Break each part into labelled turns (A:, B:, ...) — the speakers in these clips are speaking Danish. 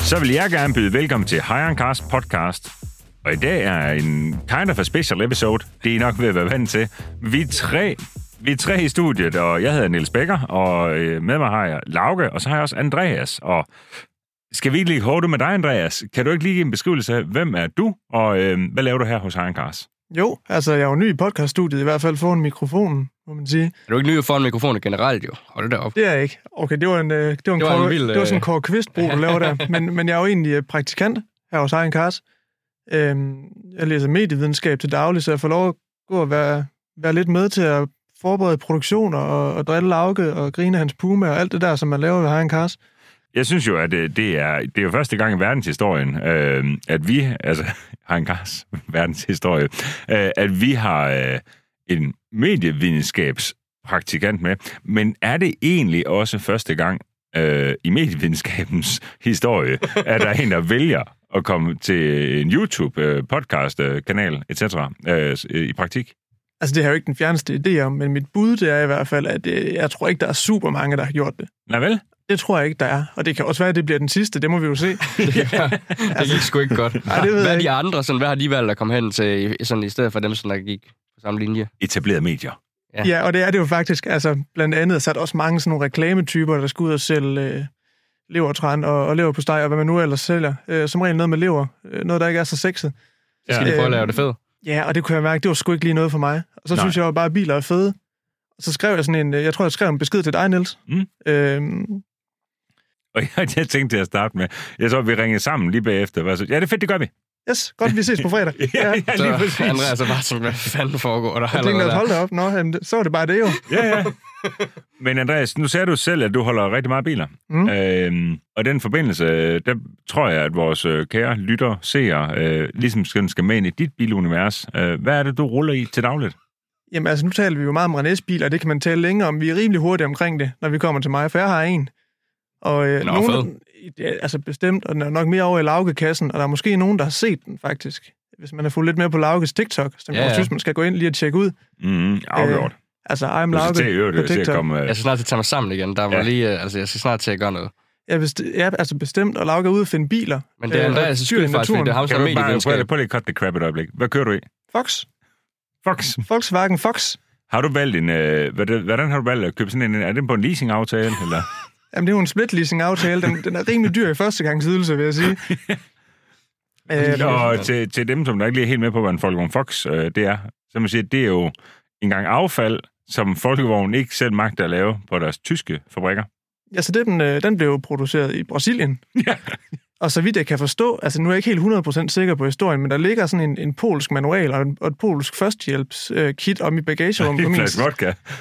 A: Så vil jeg gerne byde velkommen til Hejrencast podcast. Og i dag er en kind of a special episode. Det er I nok ved at være vant til. Vi er tre, vi er tre i studiet, og jeg hedder Niels Becker, og øh, med mig har jeg Lauke, og så har jeg også Andreas. Og skal vi ikke lige hårdt ud med dig, Andreas? Kan du ikke lige give en beskrivelse af, hvem er du, og øh, hvad laver du her hos Hejrencast?
B: Jo, altså jeg er jo ny i podcaststudiet, i hvert fald foran mikrofonen, må man sige.
C: Er du ikke ny foran mikrofonen generelt, jo? Hold det derop.
B: Det er jeg ikke. Okay, det var en, øh, det var en,
C: Det var en
B: Kåre-
C: vild,
B: det var sådan en
C: øh,
B: Kåre Kvistbro, du laver der. Men, men jeg er jo egentlig øh, praktikant her hos Egen Kars. Øhm, jeg læser medievidenskab til daglig, så jeg får lov at gå og være, være lidt med til at forberede produktioner og, og drille Lauke og grine af hans puma og alt det der, som man laver ved Egen Kars.
A: Jeg synes jo, at øh, det er, det er jo første gang i verdenshistorien, øh, at vi, altså har en gas verdenshistorie, øh, at vi har øh, en medievidenskabspraktikant med. Men er det egentlig også første gang øh, i medievidenskabens historie, at der er en, der vælger at komme til en YouTube, øh, podcast, øh, kanal, etc. Øh, s- øh, i praktik?
B: Altså det har jeg jo ikke den fjerneste idé om, men mit bud det er i hvert fald, at øh, jeg tror ikke, der er super mange, der har gjort det.
A: Nej vel?
B: Det tror jeg ikke, der er. Og det kan også være, at det bliver den sidste, det må vi jo se.
C: det gik sgu ikke godt.
B: Nej, det ved
C: hvad
B: jeg
C: er
B: ikke.
C: de andre? Sådan, hvad har de valgt at komme hen til, i- sådan, i stedet for dem, sådan, der gik på samme linje?
A: Etablerede medier.
B: Ja, og det er det jo faktisk. Altså, blandt andet er der også mange sådan nogle reklametyper, der skal ud og sælge øh, levertræn og, og leverpostej, og hvad man nu ellers sælger. Øh, som regel noget med lever. Øh, noget, der ikke er så sexet.
C: Så skal
B: Ja.
C: de prøve at
B: Øhm,
C: lave det fedt.
B: Ja, og det kunne jeg mærke, det var sgu ikke lige noget for mig. Og så
A: Nej.
B: Nej. synes jeg jo bare, at biler er fede. Og så skrev jeg sådan en, øh, jeg tror, jeg skrev en besked til dig, Niels.
A: Mm.
B: Øhm,
A: Og jeg, jeg tænkte til at starte med, jeg tror, vi ringede sammen lige bagefter. Var så, ja, det er fedt, det gør vi.
B: yes, godt, vi ses på fredag.
A: Ja, ja
C: Så
A: lige præcis.
C: Andreas er bare sådan, hvad fanden foregår der?
B: Jeg tænkte,
C: allerede
B: at
C: der?
B: hold da op. Nå, jamen, det- så var det bare det jo.
A: Ja, ja. Men Andreas, nu sagde du selv, at du holder rigtig meget biler. Mm.
B: Mm.
A: Øhm, og i den forbindelse, øh, der tror jeg, at vores øh, kære lytter, seer, øh, ligesom skal, skal med ind i dit bilunivers. Øh, hvad er det, du ruller i til dagligt?
B: Jamen altså, nu taler vi jo meget om Renés-biler, og det kan man tale længere om. Vi er rimelig hurtige omkring det, når vi kommer til mig, for jeg har en. Og øh,
C: Den er
B: nogen,
C: fed.
B: ja, altså bestemt, og den er nok mere over i Lauke-kassen, og der er måske nogen, der har set den faktisk. Hvis man har fulgt lidt mere på Laukes TikTok, som
C: Ja,
B: ja, jeg
C: ja.
B: synes, man skal gå ind lige og tjekke ud.
A: Mm, afgjort. Øh,
B: Altså, I'm
A: du skal til i
B: Lauke
A: øvrigt øh,
B: på
A: til at
B: TikTok.
A: komme... Øh,
C: Jeg skal snart til at tage mig sammen igen. Der var
A: Ja.
C: ja. lige, øh, altså, jeg skal snart til at gøre noget.
B: Ja, best- ja, altså bestemt, og Lauke er ude og finde biler.
C: Men det er
B: Øh, og
C: Andreas'
B: dyr i
C: skyld faktisk, fordi
B: naturen.
C: det er ham,
A: kan
C: som er
A: du bare prøve,
C: medievidenskab.
A: prøve lige at cut the crap et øjeblik? Hvad kører du i?
B: Fox.
A: Fox.
B: Volkswagen Fox.
A: Har du valgt en... Øh, hvad det- hvordan har du valgt at købe sådan en... Er den på en leasingaftale, eller...
B: Jamen, det er jo en split-leasing-aftale. Den, den er rimelig dyr i førstegangsydelse, vil jeg sige. Øhm,
A: og til, til dem, som der ikke lige er helt med på, hvad en Folkevogn Fox øh, det er, så man siger, det er jo engang affald, som Folkevogn ikke selv magter at lave på deres tyske fabrikker.
B: Altså, den, øh, den blev jo produceret i Brasilien.
A: Ja.
B: Og så vidt jeg kan forstå, altså nu er jeg ikke helt 100% sikker på historien, men der ligger sådan en, en polsk manual og, en, og et polsk førstehjælps-kit om i bagagerummet. på
A: En
B: min-
A: flaske vodka.
B: Altså,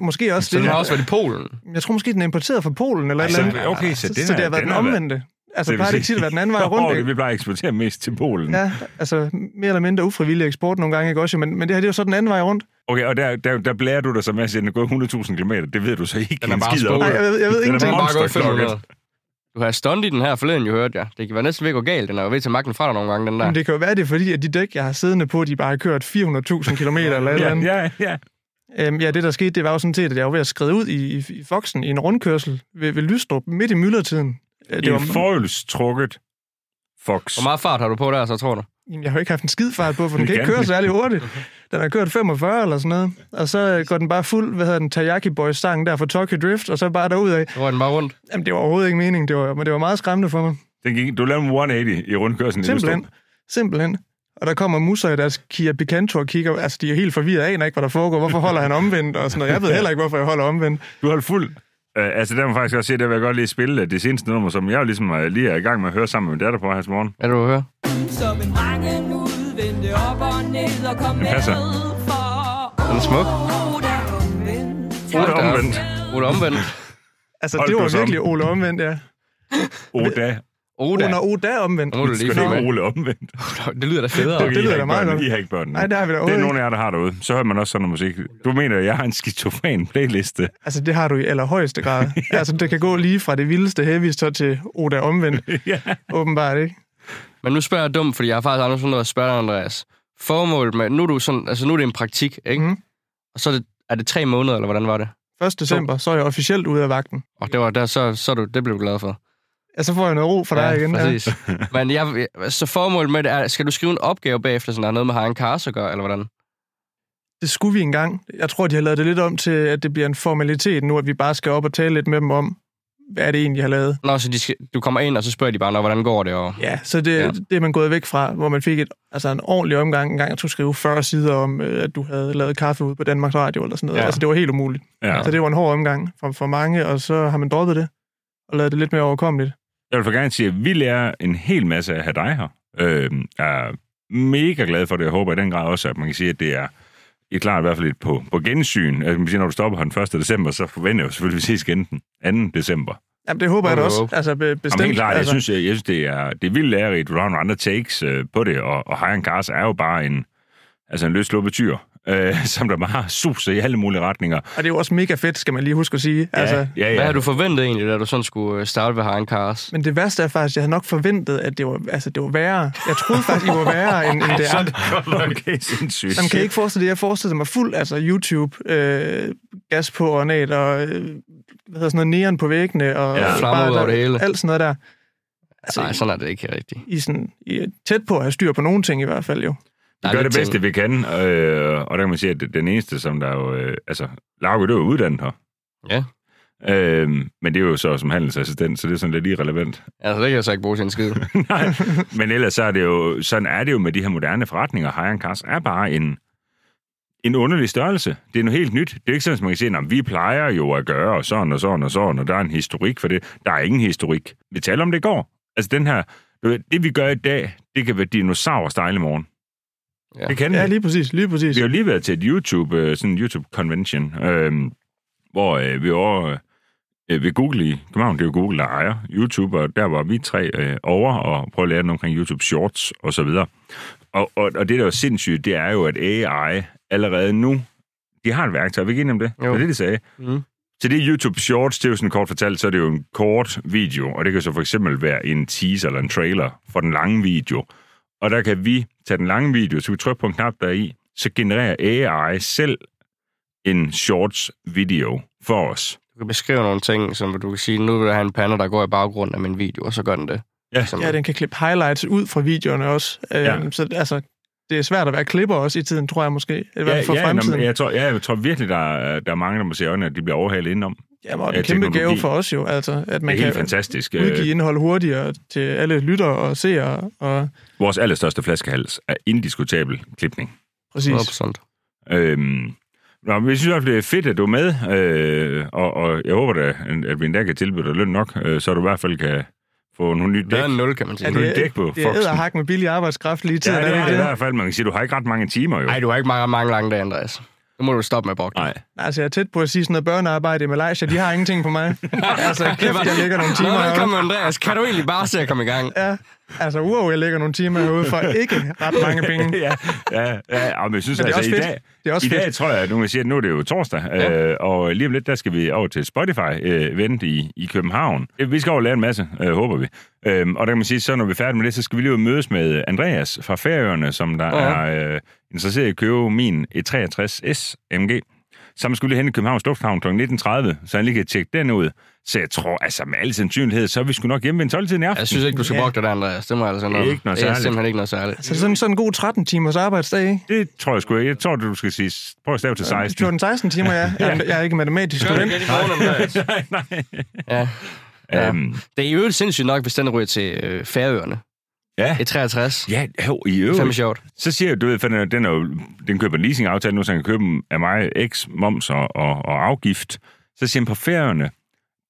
B: Måske også
C: Så den
B: det.
C: har også været i Polen.
B: Jeg tror måske, den er importeret fra Polen eller et
A: Så-
B: eller andet.
A: Altså, okay, så den
B: så det
A: er-
B: har været
A: den
B: den,
A: har været-
B: omvendte. Altså,
A: Det vil
B: det plejer det ikke
A: sige-
B: tit at være den anden vej rundt.
A: Åh,
B: ikke?
A: vi plejer at eksportere mest til Polen. Ja.
B: Ja, altså mere eller mindre ufrivillig eksport nogle gange, ikke også? jo? Men, men det her, det er jo så den anden vej rundt.
A: Okay, og der, der, der blærer du dig så med at sige, at den er gået 100.000 km. Det ved du så ikke.
C: Den er
A: en
C: bare
A: skid om.
C: spået.
B: Nej, jeg ved, jeg ved
A: Den er
B: ingenting.
C: Den er bare gået
A: monsterklokke.
C: 500. Du har stunt i den her forleden, jo hørte jeg. Det kan være næsten ved at gå galt. Den er jo ved til magten fra dig nogle gange, den der.
B: Men det kan jo være, det er fordi, at de dæk, jeg har siddende på, de bare har kørt 400.000 km eller et eller andet.
A: Ja, ja, ja.
B: Øhm, ja, det der skete, det var jo sådan set, at jeg var ved at skride ud i, i, i Foxen i en rundkørsel ved, ved Lystrup midt i myldretiden. Øh,
A: Det
B: Det var,
A: en forhjulstrukket Fox.
C: Hvor meget fart har du på der, så tror du?
B: Jamen, jeg har jo ikke haft en skid fart på, for den kan ikke
A: Gigantisk.
B: køre særlig hurtigt. Den har kørt 45 eller sådan noget. Og så øh, går den bare fuld, hvad hedder den, Tayaki Boys sang der fra Tokyo Drift, og så bare derudad.
C: Så rører den bare rundt.
B: Jamen, det var overhovedet ikke meningen, det var, men det var meget skræmmende for mig.
A: Den gik, du lavede en 180 i rundkørselen. i
B: Simpelthen.
A: Lystrup.
B: Simpelthen. Og der kommer musser i deres Kia Picanto og kigger, altså de er helt forvirret, aner ikke, hvad der foregår, hvorfor holder han omvendt og sådan noget. Jeg ved heller ikke, hvorfor jeg holder omvendt.
A: Du holdt fuld. Uh, altså, der må jeg faktisk også sige, der vil jeg godt lige spille øh, det seneste nummer, som jeg jo ligesom uh, lige er i gang med at høre sammen med min datter på her til morgen.
C: Er du hører?
D: Som en rangen ud, vendte op og ned og kom
A: Den passer.
D: med for
C: Den er smuk.
D: Oda omvendt.
A: Oda omvendt.
C: Oda omvendt.
B: Altså,
A: Hold
B: det
A: du
B: var
A: sammen.
B: virkelig Ole omvendt, ja.
A: Oda.
C: Oda.
B: Under Oda omvendt.
C: Nu må du lige
A: Skal
C: finde
A: det
C: med.
A: ikke Ole omvendt?
C: Oh, Det lyder da federe.
A: Okay, I
B: lyder
A: har
B: da
A: ikke
B: meget
A: børn.
B: godt.
A: I har ikke børn.
B: Nej, det har vi da
A: det er
B: overhovedet
A: nogen af jer, der har derude. Så hører man også sådan noget musik. Du mener, at jeg har en skizofren playliste.
B: Altså, det har du i allerhøjeste grad. ja. Altså, det kan gå lige fra det vildeste heavy, så til Oda omvendt,
A: ja.
B: åbenbart, ikke?
C: Men nu spørger jeg dumt, fordi jeg har faktisk aldrig sådan noget at spørge dig, Andreas. Formålet med, nu er, du sådan, altså nu er det en praktik, ikke?
B: Mhm.
C: Mm. Og så er det, er det tre måneder, eller hvordan var det?
B: 1. december, så er jeg officielt ude af vagten.
C: Og det var der, så, så er du, det blev du glad for.
B: Ja, så får jeg noget ro fra dig igen.
C: præcis. Men jeg, så formålet med det er, skal du skrive en opgave bagefter, som har noget med Hagen Kars at gøre, eller hvordan?
B: Det skulle vi engang. Jeg tror, de har lavet det lidt om til, at det bliver en formalitet nu, at vi bare skal op og tale lidt med dem om, hvad er det egentlig, jeg har lavet.
C: Nå, så de skal, du kommer ind, og så spørger de bare, Nå, hvordan går det? Og,
B: Ja, så det,
C: Ja.
B: ja. det er man gået væk fra, hvor man fik et, altså en ordentlig omgang engang, at du skrive 40 sider om, øh, at du havde lavet kaffe ude på Danmarks Radio eller sådan noget.
C: Ja.
B: Ja. Altså, det var helt umuligt.
A: Ja.
B: Så Altså, det var en hård omgang for, for mange, og så har man droppet det og lavet det lidt mere overkommeligt.
A: Jeg vil for gerne sige, at vi lærer en hel masse af at have dig her. Øh, jeg er mega glad for det. Jeg håber i den grad også, at man kan sige, at det er i klart i hvert fald et på, på gensyn. Altså, man kan sige, når du stopper her den 1. december, så forventer jeg jo selvfølgelig, at vi ses igen den 2. december.
B: Jamen, det håber jeg da
C: Wow.
B: også. Altså, be, bestemt.
A: Jamen, helt klart, jeg
B: altså,
A: synes, jeg, jeg synes det, er, det er vildt lærerigt, du har nogle andre takes øh, på det, og, og Hayan Kars er jo bare en, altså en løsluppet tyr, øh, som der bare suser i alle mulige retninger.
B: Og det er jo også mega fedt, skal man lige huske at sige. Ja. Altså,
A: ja, ja.
C: Hvad har du forventet egentlig, da du sådan skulle øh, starte ved Hagen Kars?
B: men det værste er faktisk, at jeg havde nok forventet, at det var, altså, det var værre. Jeg troede faktisk, I var værre, end, end det er.
A: Så er det godt nok okay, sindssygt.
B: Jamen, kan I ikke forestille det? Jeg forestillede mig fuld, altså YouTube, øh, gas på ornat og øh, hvad hedder sådan noget, neon på væggene. Og
A: Ja.
B: og
C: Flammer
B: bare
C: ud over
B: der-
C: det hele.
B: Alt sådan noget der. Altså,
C: Nej, sådan er det ikke rigtigt.
B: I, er sådan, I er tæt på at have styr på nogle ting i hvert fald jo.
A: Vi
C: Der er
A: gør
C: lidt
A: det bedste,
C: ting.
A: vi kan, øh, og der kan man sige, at det- den eneste, som der jo... Øh, altså, Lauke, du er jo uddannet her.
C: Ja.
A: Øh, men det er jo så som handelsassistent, så det er sådan lidt irrelevant.
C: Altså, det kan jeg så ikke bruge til en skid.
A: Nej, men ellers så er det jo... Sådan er det jo med de her moderne forretninger. Hayan Cars er bare en, en underlig størrelse. Det er noget helt nyt. Det er ikke sådan, at man kan sige, at vi plejer jo at gøre og sådan og sådan og sådan, og der er en historik for det. Der er ingen historik. Vi taler om det i går. Altså den her... du ved, Det, vi gør i dag, det kan være dinosaurer style i morgen.
C: Ja.
A: Det kan
B: Ja,
A: det.
B: lige præcis, lige præcis.
A: Vi har jo lige været til et YouTube, øh, sådan en YouTube-convention, øh, hvor øh, vi over øh, ved Google i København, det er jo Google, der ejer YouTube, og der var vi tre øh, over og prøvede at lære noget omkring YouTube Shorts og så videre. Og, og, og det, der er jo sindssygt, det er jo, at AI allerede nu, de har et værktøj, er vi ikke enige om det?
C: Jo.
A: Det er det, de sagde.
C: Mm.
A: Så det er YouTube Shorts, det er jo sådan kort fortalt, så er det jo en kort video, og det kan så for eksempel være en teaser eller en trailer for den lange video. Og der kan vi tage den lange video, så vi trykker på en knap deri, så genererer AI selv en shorts video for os.
C: Du kan beskrive nogle ting, som du kan sige, nu vil jeg have en pande, der går i baggrunden af min video, og så gør den det.
A: Ja.
C: Som,
B: Ja, den kan klippe highlights ud fra videoerne også.
A: Ja.
B: Ja. Så altså, det er svært at være klipper også i tiden, tror jeg måske. I hvert fald for
A: ja,
B: fremtiden.
A: jamen, jeg, tror, ja, jeg tror virkelig, der, er- der er mange, der må se øjnene, at de bliver overhalet indenom.
B: Jamen, og en
A: ja,
B: kæmpe
A: teknologi.
B: gave for os jo, altså, at
A: Det
B: man
A: er helt
B: kan
A: fantastisk. øh,
B: udgive indhold hurtigere til alle lyttere og seere. Og,
A: Øh, Vores allerstørste flaskehals er indiskutabel klipning.
B: præcis.
C: 100%.
A: Øhm, nå, men jeg synes i hvert fald, det er fedt, at du er med, øh, og, og jeg håber da, at vi endda kan tilbyde dig løn nok, øh, så du i hvert fald kan få nogle nye dæk.
C: Bedre end nul, kan man sige.
B: Ja,
A: Nu er
B: det
A: det dæk på
B: er, det er
A: Foxen.
B: æderhak med billig arbejdskraft lige til.
A: Ja, det er det i
B: ikke
A: hvert fald. Man kan sige, at du har ikke ret mange timer, jo.
C: Nej, du har ikke mange, mange lange dage, Andreas. Nu må du stoppe med at brokke.
A: Nej.
B: Altså, jeg er tæt på at sige sådan noget børnearbejde i Malaysia. De har ingenting på mig. altså, kæft, jeg ligger nogle timer
C: Nå,
B: herude.
C: velkommen, Andreas. Kan du egentlig bare se at komme i gang?
B: Ja, altså, wow, jeg ligger nogle timer herude for ikke ret mange penge.
A: ja, ja, ja, og men jeg synes,
B: Men det er
A: altså,
B: også
A: i
B: fedt.
A: dag,
B: Det er også
A: i dag
B: fedt.
A: tror jeg, at nogen siger, at nu er det jo torsdag, ja. øh, og lige om lidt, der skal vi over til Spotify-event i, i København. Vi skal over og lære en masse, øh, håber vi. Øhm, og der kan man sige, så når vi er færdige med det, så skal vi lige ud og mødes med Andreas fra Færøerne, som der
C: Ja.
A: er øh, interesseret i at købe min E63S MG. Sammen skulle vi lige hen i Københavns Lufthavn kl. 19.30, så han lige kan tjekke den ud. Så jeg tror, altså med al sandsynlighed, så er vi sgu nok hjemme ved en 12-tiden i aften.
B: Altså-
C: Jeg synes ikke, du skal
B: Ja.
C: brokke dig der, Andreas. Det må jeg altså
A: Det er ikke noget
C: Det er
A: særligt. Altså,
C: simpelthen ikke noget særligt.
B: Så sådan, sådan en god 13 timers arbejdsdag, ikke?
A: Det tror jeg sgu ikke. Jeg tror, du skal sige, prøv at stave til 16.
B: 14-16 timer, ja. Jeg, jeg er ikke matematisk student.
A: nej, nej.
C: Ja.
A: Ja.
C: Ja.
A: Øhm,
C: Det er i øvrigt sindssygt nok, hvis den ryger til øh, Færøerne.
A: ja.
C: Et 63.
A: Ja, jo, i
C: Det er fandme
A: øvrigt.
C: sjovt.
A: Så siger jeg, du ved, for den, er- den, er jo, den køber en leasingaftale nu, så han kan købe dem af mig, x, moms og, og, og afgift. Så siger han, på færøerne,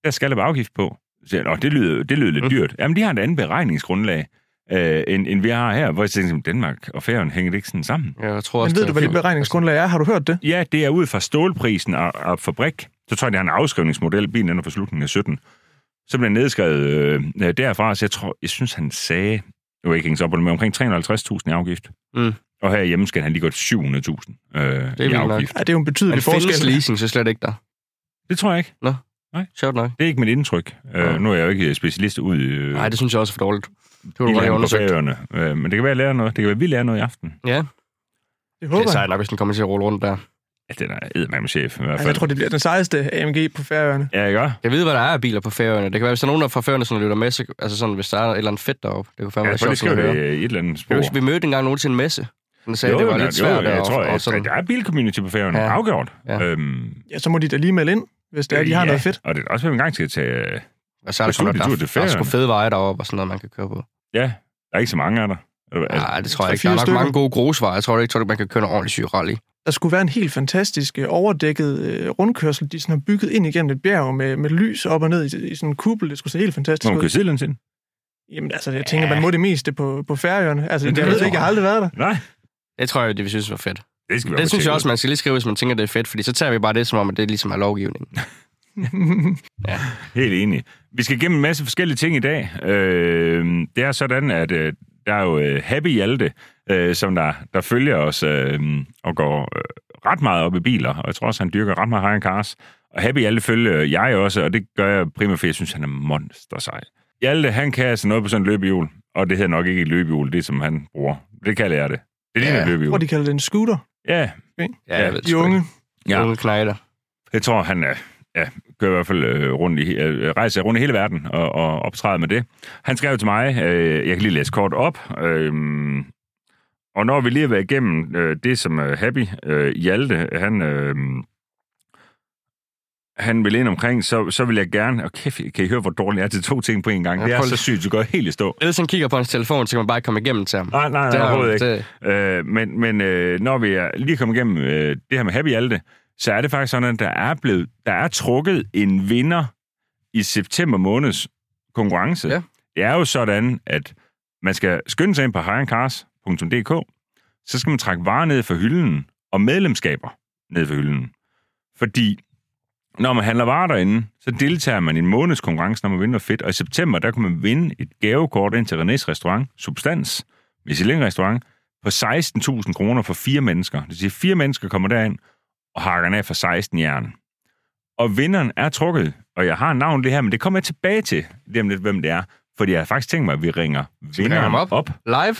A: der skal der være afgift på. Så siger jeg, Nå, det lyder, det lyder
C: Mm.
A: lidt dyrt. Jamen, de har et andet beregningsgrundlag, øh, end, end vi har her, hvor jeg tænker, Danmark og færøerne hænger det ikke sådan sammen.
C: Jeg tror
B: Men
C: også,
B: ved du, hvad
C: det
B: det
C: er
B: beregningsgrundlag er? Har du hørt det?
A: Ja, det er ud fra stålprisen og, og fabrik. Så tror jeg, det er en afskrivningsmodel. Bilen den er fra slutningen af 17. Så blev den nedskrevet øh, øh, derfra, så jeg tror, jeg synes, han sagde, nu er jeg ikke hængt op på det, men omkring 350.000 i afgift.
C: Mm.
A: Og herhjemme skal han lige godt 700.000 øh, i
C: vildt nok.
A: afgift.
B: Ja, det er jo en
C: Men
B: betydelig
C: findes
B: forskel.
C: leasing så slet ikke der.
A: Det tror jeg ikke.
C: Sjovt nok.
A: Det er ikke mit indtryk.
C: Ja.
A: Øh, nu er jeg jo ikke specialist ud i øh,
C: Nej, det synes jeg også er for dårligt. Det kunne du
A: bilerne
C: godt have
A: på
C: undersøgt.
A: Færøerne. øh, men det kan være, jeg lærer noget. Det kan være, vi lærer noget i aften.
C: Ja,
B: Det
C: det er
B: håber jeg.
C: sejt nok, hvis den kommer til at rulle rundt der.
A: Ja, Altså, den er eddermame chef i hvert
B: Altså, jeg
A: fald.
B: tror, det bliver den sejeste AMG på færøerne.
A: Ja, ikke også?
C: Jeg ved, hvad der er af biler på færøerne. Det kan være, hvis der er nogen der er fra færøerne, som lytter med, så, altså sådan, hvis der er et eller andet fedt deroppe. Det kunne fandme
A: Ja,
C: være
A: jeg tror, de
C: sjovt at
A: skriver
C: høre.
A: det i et eller andet
C: Jeg
A: spor.
C: husker, vi mødte engang nogen til en messe. Han sagde, jo, det var lidt
A: jo,
C: svært.
A: jeg
C: og-
A: tror,
C: og,
A: at,
C: sådan.
A: at der er bilcommunity på færgerne,
C: Ja.
A: ja. afgjort.
C: Ja.
A: Øhm,
B: Ja, så må de da lige melde ind, hvis det er, de har
A: ja,
B: noget fedt.
A: Og det er også, hvad vi engang øh, skal tage...
C: og så er der,
A: beslutning,
C: der, der,
A: tur
C: der,
A: til
C: der er sgu
A: Færøerne.
C: fede veje deroppe og sådan noget, man kan køre på.
A: Ja, der er ikke så mange af der. Eller hvad?
C: Nej, det tror jeg
B: tre,
C: ikke. Der er
B: fire
C: nok
B: stykker.
C: mange gode grusveje. Jeg tror ikke, tror, ikke, man kan køre en ordentlig syg rally.
B: Der skulle være en helt fantastisk øh, overdækket øh, rundkørsel, de sådan har bygget ind igennem et bjerg med, med lys op og ned i, i sådan en kuppel. Det skulle se helt fantastisk
A: Må man
B: ud.
A: køre sidelæns ind?
B: Jamen altså, jeg tænker, man må det meste på, på færøerne. Altså,
A: Men
B: det,
A: det
B: jeg
A: ved
B: ved det
A: jeg
B: ikke, jeg
A: ikke.
B: har aldrig været der.
A: Nej,
C: Det tror jeg, det vi synes var fedt.
A: det skal vi
C: Det
A: op og
C: synes jeg
A: tjekke
C: også,
A: ud.
C: man skal lige skrive, hvis man tænker, det er fedt, fordi så tager vi bare det som om, at det ligesom er lovgivning.
A: Helt enig. Vi skal gennem en masse forskellige ting i dag. Øh, det er sådan, at øh, der er jo øh, Happy Hjalte, øh, som der, der følger os øh, og går øh, ret meget op i biler, og jeg tror også, han dyrker ret meget high cars. Og Happy Hjalte følger jeg også, og det gør jeg primært, fordi jeg synes, han er monster sej. Hjalte, han kan altså noget på sådan et løbehjul, og det hedder nok ikke et løbehjul, det som han bruger. Det kalder jeg det. Det ligner ja.
C: Ja.
A: et
B: Hvor
A: løbehjul.
B: de kalder det en scooter,
A: Ja,
C: Ja,
A: Ja,
C: jeg ved det
B: de
C: sgu
B: unge.
C: ikke.
A: Ja.
C: Unge knejder.
A: Jeg tror, han øh, ja, kører i hvert fald øh, rundt i, øh, rejser rundt i hele verden og, og optræder med det. Han skrev til mig, øh, jeg kan lige læse kort op, øh, og når vi lige har været igennem øh, det, som øh, Happy øh, Hjalte, han, øh, han vil ind omkring, så, så vil jeg gerne... Og kæft, kan I høre, hvor dårlig jeg er til to ting på en gang?
C: Ja,
A: det er
C: prøv
A: så
C: lige-
A: sygt, du går helt i stå.
C: Ellers han kigger på hans telefon, så kan man bare ikke komme igennem til ham.
A: Nej, nej, nej,
C: er jo-
A: Ah, overhovedet ikke.
C: det,
A: Øh, men men øh, når vi er lige kommet igennem øh, det her med Happy Alte, så er det faktisk sådan, at der er, blevet, der er trukket en vinder i september måneds konkurrence.
C: Ja.
A: Det er jo sådan, at man skal skynde sig ind på hirencars.dk, så skal man trække varer ned for hylden og medlemskaber ned for hylden. Fordi når man handler varer derinde, så deltager man i en måneds konkurrence, når man vinder noget fedt. Og i september, der kan man vinde et gavekort ind til Renés restaurant, Substans, Michelin-restaurant, på 16.000 kroner for fire mennesker. Det vil sige, fire mennesker kommer derind og hakker den af for 16 jern. Og vinderen er trukket, og jeg har navn det her, men det kommer jeg tilbage til, lige om lidt, hvem det er. Fordi jeg har faktisk tænkt mig, at vi ringer
C: vi ringer
A: vinderen
C: ham op?
A: op.
C: live?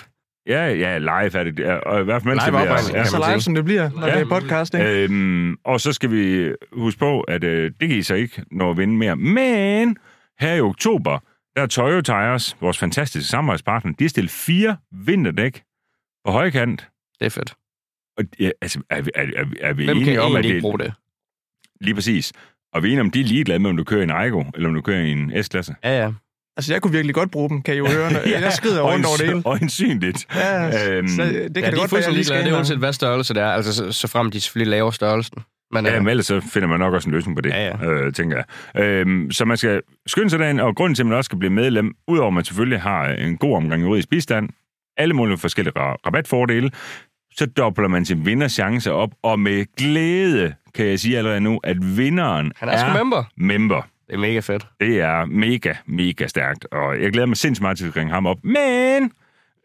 A: Ja, ja, live er det. ja, Og i hvert fald, mens
C: Live
A: det
C: opvarmning,
A: bliver...
C: kan
B: Så
C: man
B: live,
C: sige.
B: som det bliver, når
C: Ja.
B: det er podcast, ikke?
A: Øhm, og så skal vi huske på, at øh, det kan I så ikke nå at vinde mere. Men her i oktober, der er Toyo Tires, vores fantastiske samarbejdspartner, de har stillet fire vinterdæk på højkant.
C: Det er fedt.
A: Og, ja, altså, er, vi- er, er, er vi
C: Hvem kan
A: enige om, at
C: egentlig
A: det
C: ikke bruge det?
A: Lige præcis. Og vi er enige om, de er ligeglade med, om du kører i en Aigo, eller om du kører i en S-klasse.
C: Ja, ja.
B: Altså, jeg kunne virkelig godt bruge dem, kan I jo høre. når- Jeg skrider
A: og
B: rundt over det
A: øjens-
B: hele.
A: Og ensynligt.
B: Ja,
A: Øhm,
B: så det kan
C: ja,
B: det
C: de
B: godt være, jeg lige skal
C: Det er
B: indrømme.
C: uanset, hvad størrelse det er. Altså, så, så frem de selvfølgelig laver størrelsen. Men,
A: Ja,
C: øh,
A: men ellers så finder man nok også en løsning på det,
C: Ja, ja.
A: Øh, tænker jeg. Øh, så man skal skynde sig derind, og grunden til, at man også skal blive medlem, udover at man selvfølgelig har øh, en god omgang juridisk bistand, alle mulige forskellige ra- rabatfordele, så dobler man sin vinderchance op, og med glæde kan jeg sige allerede nu, at vinderen
C: han er sgu member.
A: member.
C: Det er mega fedt.
A: Det er mega, mega stærkt, og jeg glæder mig sindssygt meget til at ringe ham op. Men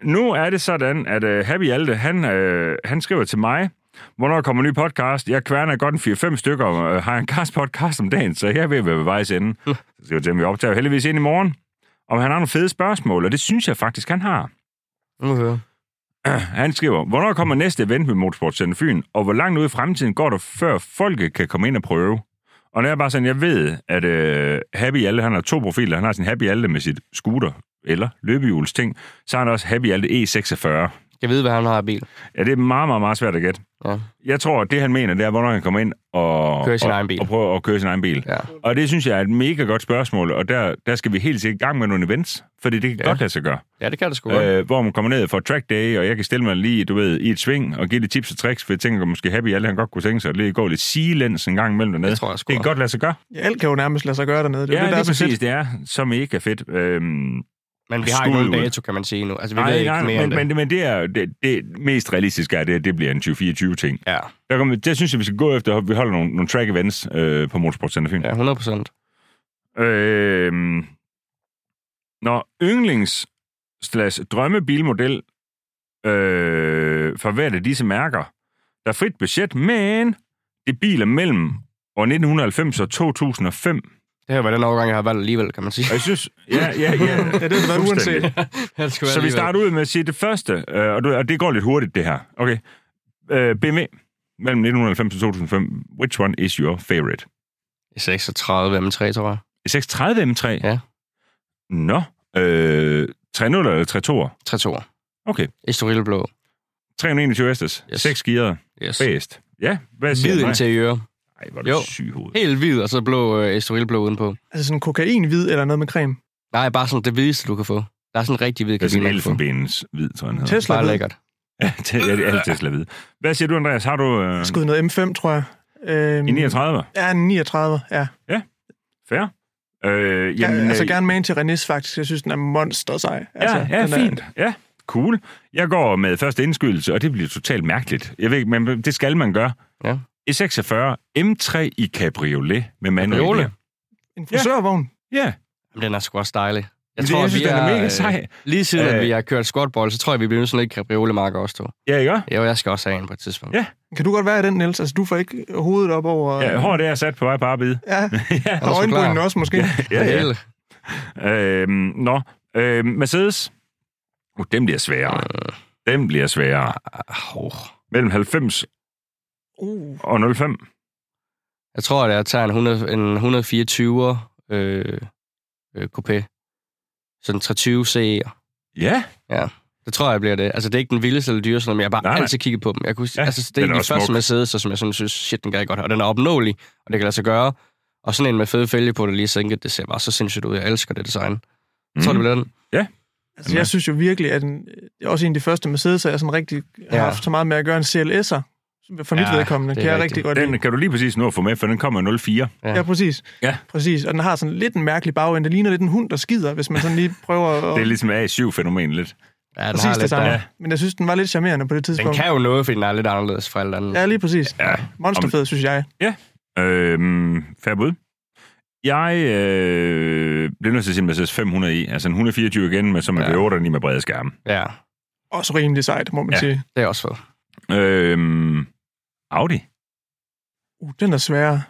A: nu er det sådan, at uh, Happy Alte, han, uh, han skriver til mig, hvornår kommer en ny podcast? Jeg kværner godt en 4-5 stykker, og uh, har en kast podcast om dagen, så jeg er ved at være ved vejs ende. Så skriver jeg til ham, vi optager heldigvis ind i morgen, om han har nogle fede spørgsmål, og det synes jeg faktisk, han har.
C: Nu hører.
A: Han skriver, hvornår kommer næste event med Motorsportcenter Fyn, og hvor langt ud i fremtiden går der, før folket kan komme ind og prøve? Og når jeg bare sådan, jeg ved, at øh, Happy Alte, han har to profiler. Han har sin Happy Alte med sit scooter, eller løbehjulsting. Så har han også Happy Alte E46.
C: Jeg ved, hvad han har af bil.
A: Ja, det er meget, meget, meget svært at gætte.
C: Ja.
A: Jeg tror, at det han mener, det er, hvornår han kommer ind og...
C: Køre sin
A: og,
C: egen bil.
A: Og prøve at køre sin egen bil.
C: Ja.
A: Og det synes jeg er et mega godt spørgsmål, og der, der skal vi helt sikkert i gang med nogle events, fordi det kan
C: Ja.
A: ja. godt lade sig gøre.
C: ja, det kan det sgu godt.
A: Øh, hvor man kommer ned for track day, og jeg kan stille mig lige, du ved, i et sving og give lidt tips og tricks, for jeg tænker, at måske Happy alle han godt kunne tænke sig at lige gå lidt sigelæns en gang imellem dernede.
C: Det tror jeg sgu
A: det kan
C: også.
A: godt lade sig gøre.
B: Ja, alt kan jo nærmest lade sig gøre dernede. Det er
A: Ja,
B: jo
A: det,
B: det, der er
A: lige
B: så
A: præcis.
B: fedt.
A: Det er så mega fedt. Øhm,
C: Men vi har ikke nogen
A: Skud ud.
C: dato, kan man sige nu. Altså, vi ved
A: nej,
C: ikke
A: nej,
C: mere
A: men,
C: end det.
A: men, men det, er, det, det mest realistiske er, det, at det bliver en 2024-ting.
C: Ja,
A: Der, kommer, der synes jeg, vi skal gå efter, at vi holder nogle, nogle track events øh, på Motorsport Center Fyn.
C: ja, 100 procent.
A: Øhm, når yndlings slash drømmebilmodel øh, for hvert af disse mærker, der er frit budget, men det er biler mellem år 1990 og 2005.
C: Det her var den overgang, jeg har valgt alligevel, kan man sige.
A: Og jeg synes... Ja, ja, ja.
B: Ja, det er det, der er
A: Fuldstændig.
B: uanset.
C: det skulle
A: Så vi starter ud med at sige det første, øh, og, du, og det går lidt hurtigt, det her. Okay. Øh, BMW. mellem 1990 og 2005, which one is your favorite?
C: I 36 M3, tror jeg.
A: 630 M3?
C: Ja.
A: Nå. Øh, 3.0 eller 3.2'er?
C: 3 2
A: Okay.
C: Estoril Blå.
A: 321 hestes.
C: Yes.
A: 6 gearet.
C: Yes.
A: Bedst. Ja, hvad siger
C: Hvid
A: du?
C: interiør.
A: Nej, hvor er du
C: Jo.
A: syg hoved.
C: Helt hvid, og så blå øh, Estoril Blå udenpå.
B: Altså sådan kokainhvid eller noget med creme.
C: Nej, bare sådan det hvideste, du kan få. Der er sådan en rigtig hvid
A: Det er
C: kanin,
A: sådan
C: man kan få.
A: elfenbenens hvid, tror jeg, han hedder.
B: Tesla
C: Bare
B: hvid.
C: lækkert.
A: Ja, det er det alle Tesla hvid. Hvad siger du, Andreas? Har du øh,
B: Jeg skød noget M5, tror jeg. Øhm,
A: i 39?
B: Ja, en 39, ja.
A: Fair. Øh,
B: Jamen, altså
A: øh,
B: gerne med en til Renis, faktisk. Jeg synes, den er monster sej. Altså,
A: Ja, ja,
B: den er-
A: fint. Ja, cool. Jeg går med første indskydelse, og det bliver totalt mærkeligt. Jeg ved ikke, men det skal man gøre. E
C: Ja.
A: E46 M3 i cabriolet med manuel.
C: Cabriolet?
A: gear.
B: En frisørvogn.
A: Ja,
C: Jamen, den er sgu også dejlig. Jeg
A: jeg
C: tror,
A: tror, jeg synes,
C: vi
A: den er mega
C: øh,
A: sej.
C: Lige siden,
A: Øh.
C: at vi har kørt squatball, så tror jeg, vi bliver nødt til at lægge cabriolemarker også, to.
A: Ja, ikke?
C: Jo, jeg skal også have en på et tidspunkt.
A: Ja.
B: Kan du godt være i den, Niels? Altså, du får ikke hovedet op over...
A: Ja, hårdt er sat på vej på arbejde.
B: Ja,
A: ja,
B: og
C: sgu
B: øjenbrynen
C: klar.
B: også, måske.
A: ja, ja.
C: Hele.
A: Øhm, nå, øhm, Mercedes. Uh, den bliver sværere. Den bliver sværere.
C: Hov.
A: Mellem 90
B: Uh,
A: og 05.
C: Jeg tror, at jeg tager en, 100, en 124'er øh, øh, coupé. Sådan en 320 CE'er.
A: Ja,
C: Det tror jeg bliver det. Altså, det er ikke den vildeste eller dyreste, men jeg har bare
A: Nej,
C: nej,
A: nej.
C: altid kigget på dem. Jeg kunne,
A: Ja,
C: ja, altså,
A: den
C: det
A: er
C: er den
A: også
C: første
A: smuk.
C: Mercedes, og som jeg sådan synes, shit, den gør jeg godt. Og den er opnåelig, og det kan lade sig gøre. Og sådan en med fede fælge på, der lige er sænket, det ser bare så sindssygt ud. Jeg elsker det design. Mm. Jeg tror,
A: Mm.
C: det bliver den.
B: altså,
A: Jamen, ja.
B: jeg synes jo virkelig, at en, det er også en af de første Mercedes, jeg sådan rigtig har
C: Ja.
B: haft så meget med at gøre en CLS'er. For mit
C: Ja,
B: vedkommende
C: det
B: kan
C: er
B: jeg
C: rigtigt.
B: rigtig godt lide.
A: den kan du lige præcis nå at få med, for den kommer i 04.
C: Ja.
B: Ja, præcis.
A: Ja.
B: Præcis. Og den har sådan lidt en mærkelig bagende. Det ligner lidt en hund, der skider, hvis man sådan lige prøver at...
A: Det er ligesom A7-fænomen lidt.
C: Ja, den
B: præcis
C: har
B: det
C: lidt,
B: samme.
C: der-
B: Ja. Men jeg synes, den var lidt charmerende på det
C: Den
B: tidspunkt.
C: kan jo noget, fordi den er lidt anderledes fra alt andet.
B: Ja, lige præcis.
A: Ja.
B: Monsterfed, synes jeg.
A: Øhm, fair bud. Jeg øh, blev nødt til at sige en Mercedes 500 i, altså en 124 igen, men som en
C: Ja.
A: V8 og 9 med brede skærme.
C: ja
B: Også rimelig sejt, må man
A: Ja.
B: ja. sige.
C: det er også fedt.
A: Øhm, Audi?
B: Uh, den er sværere.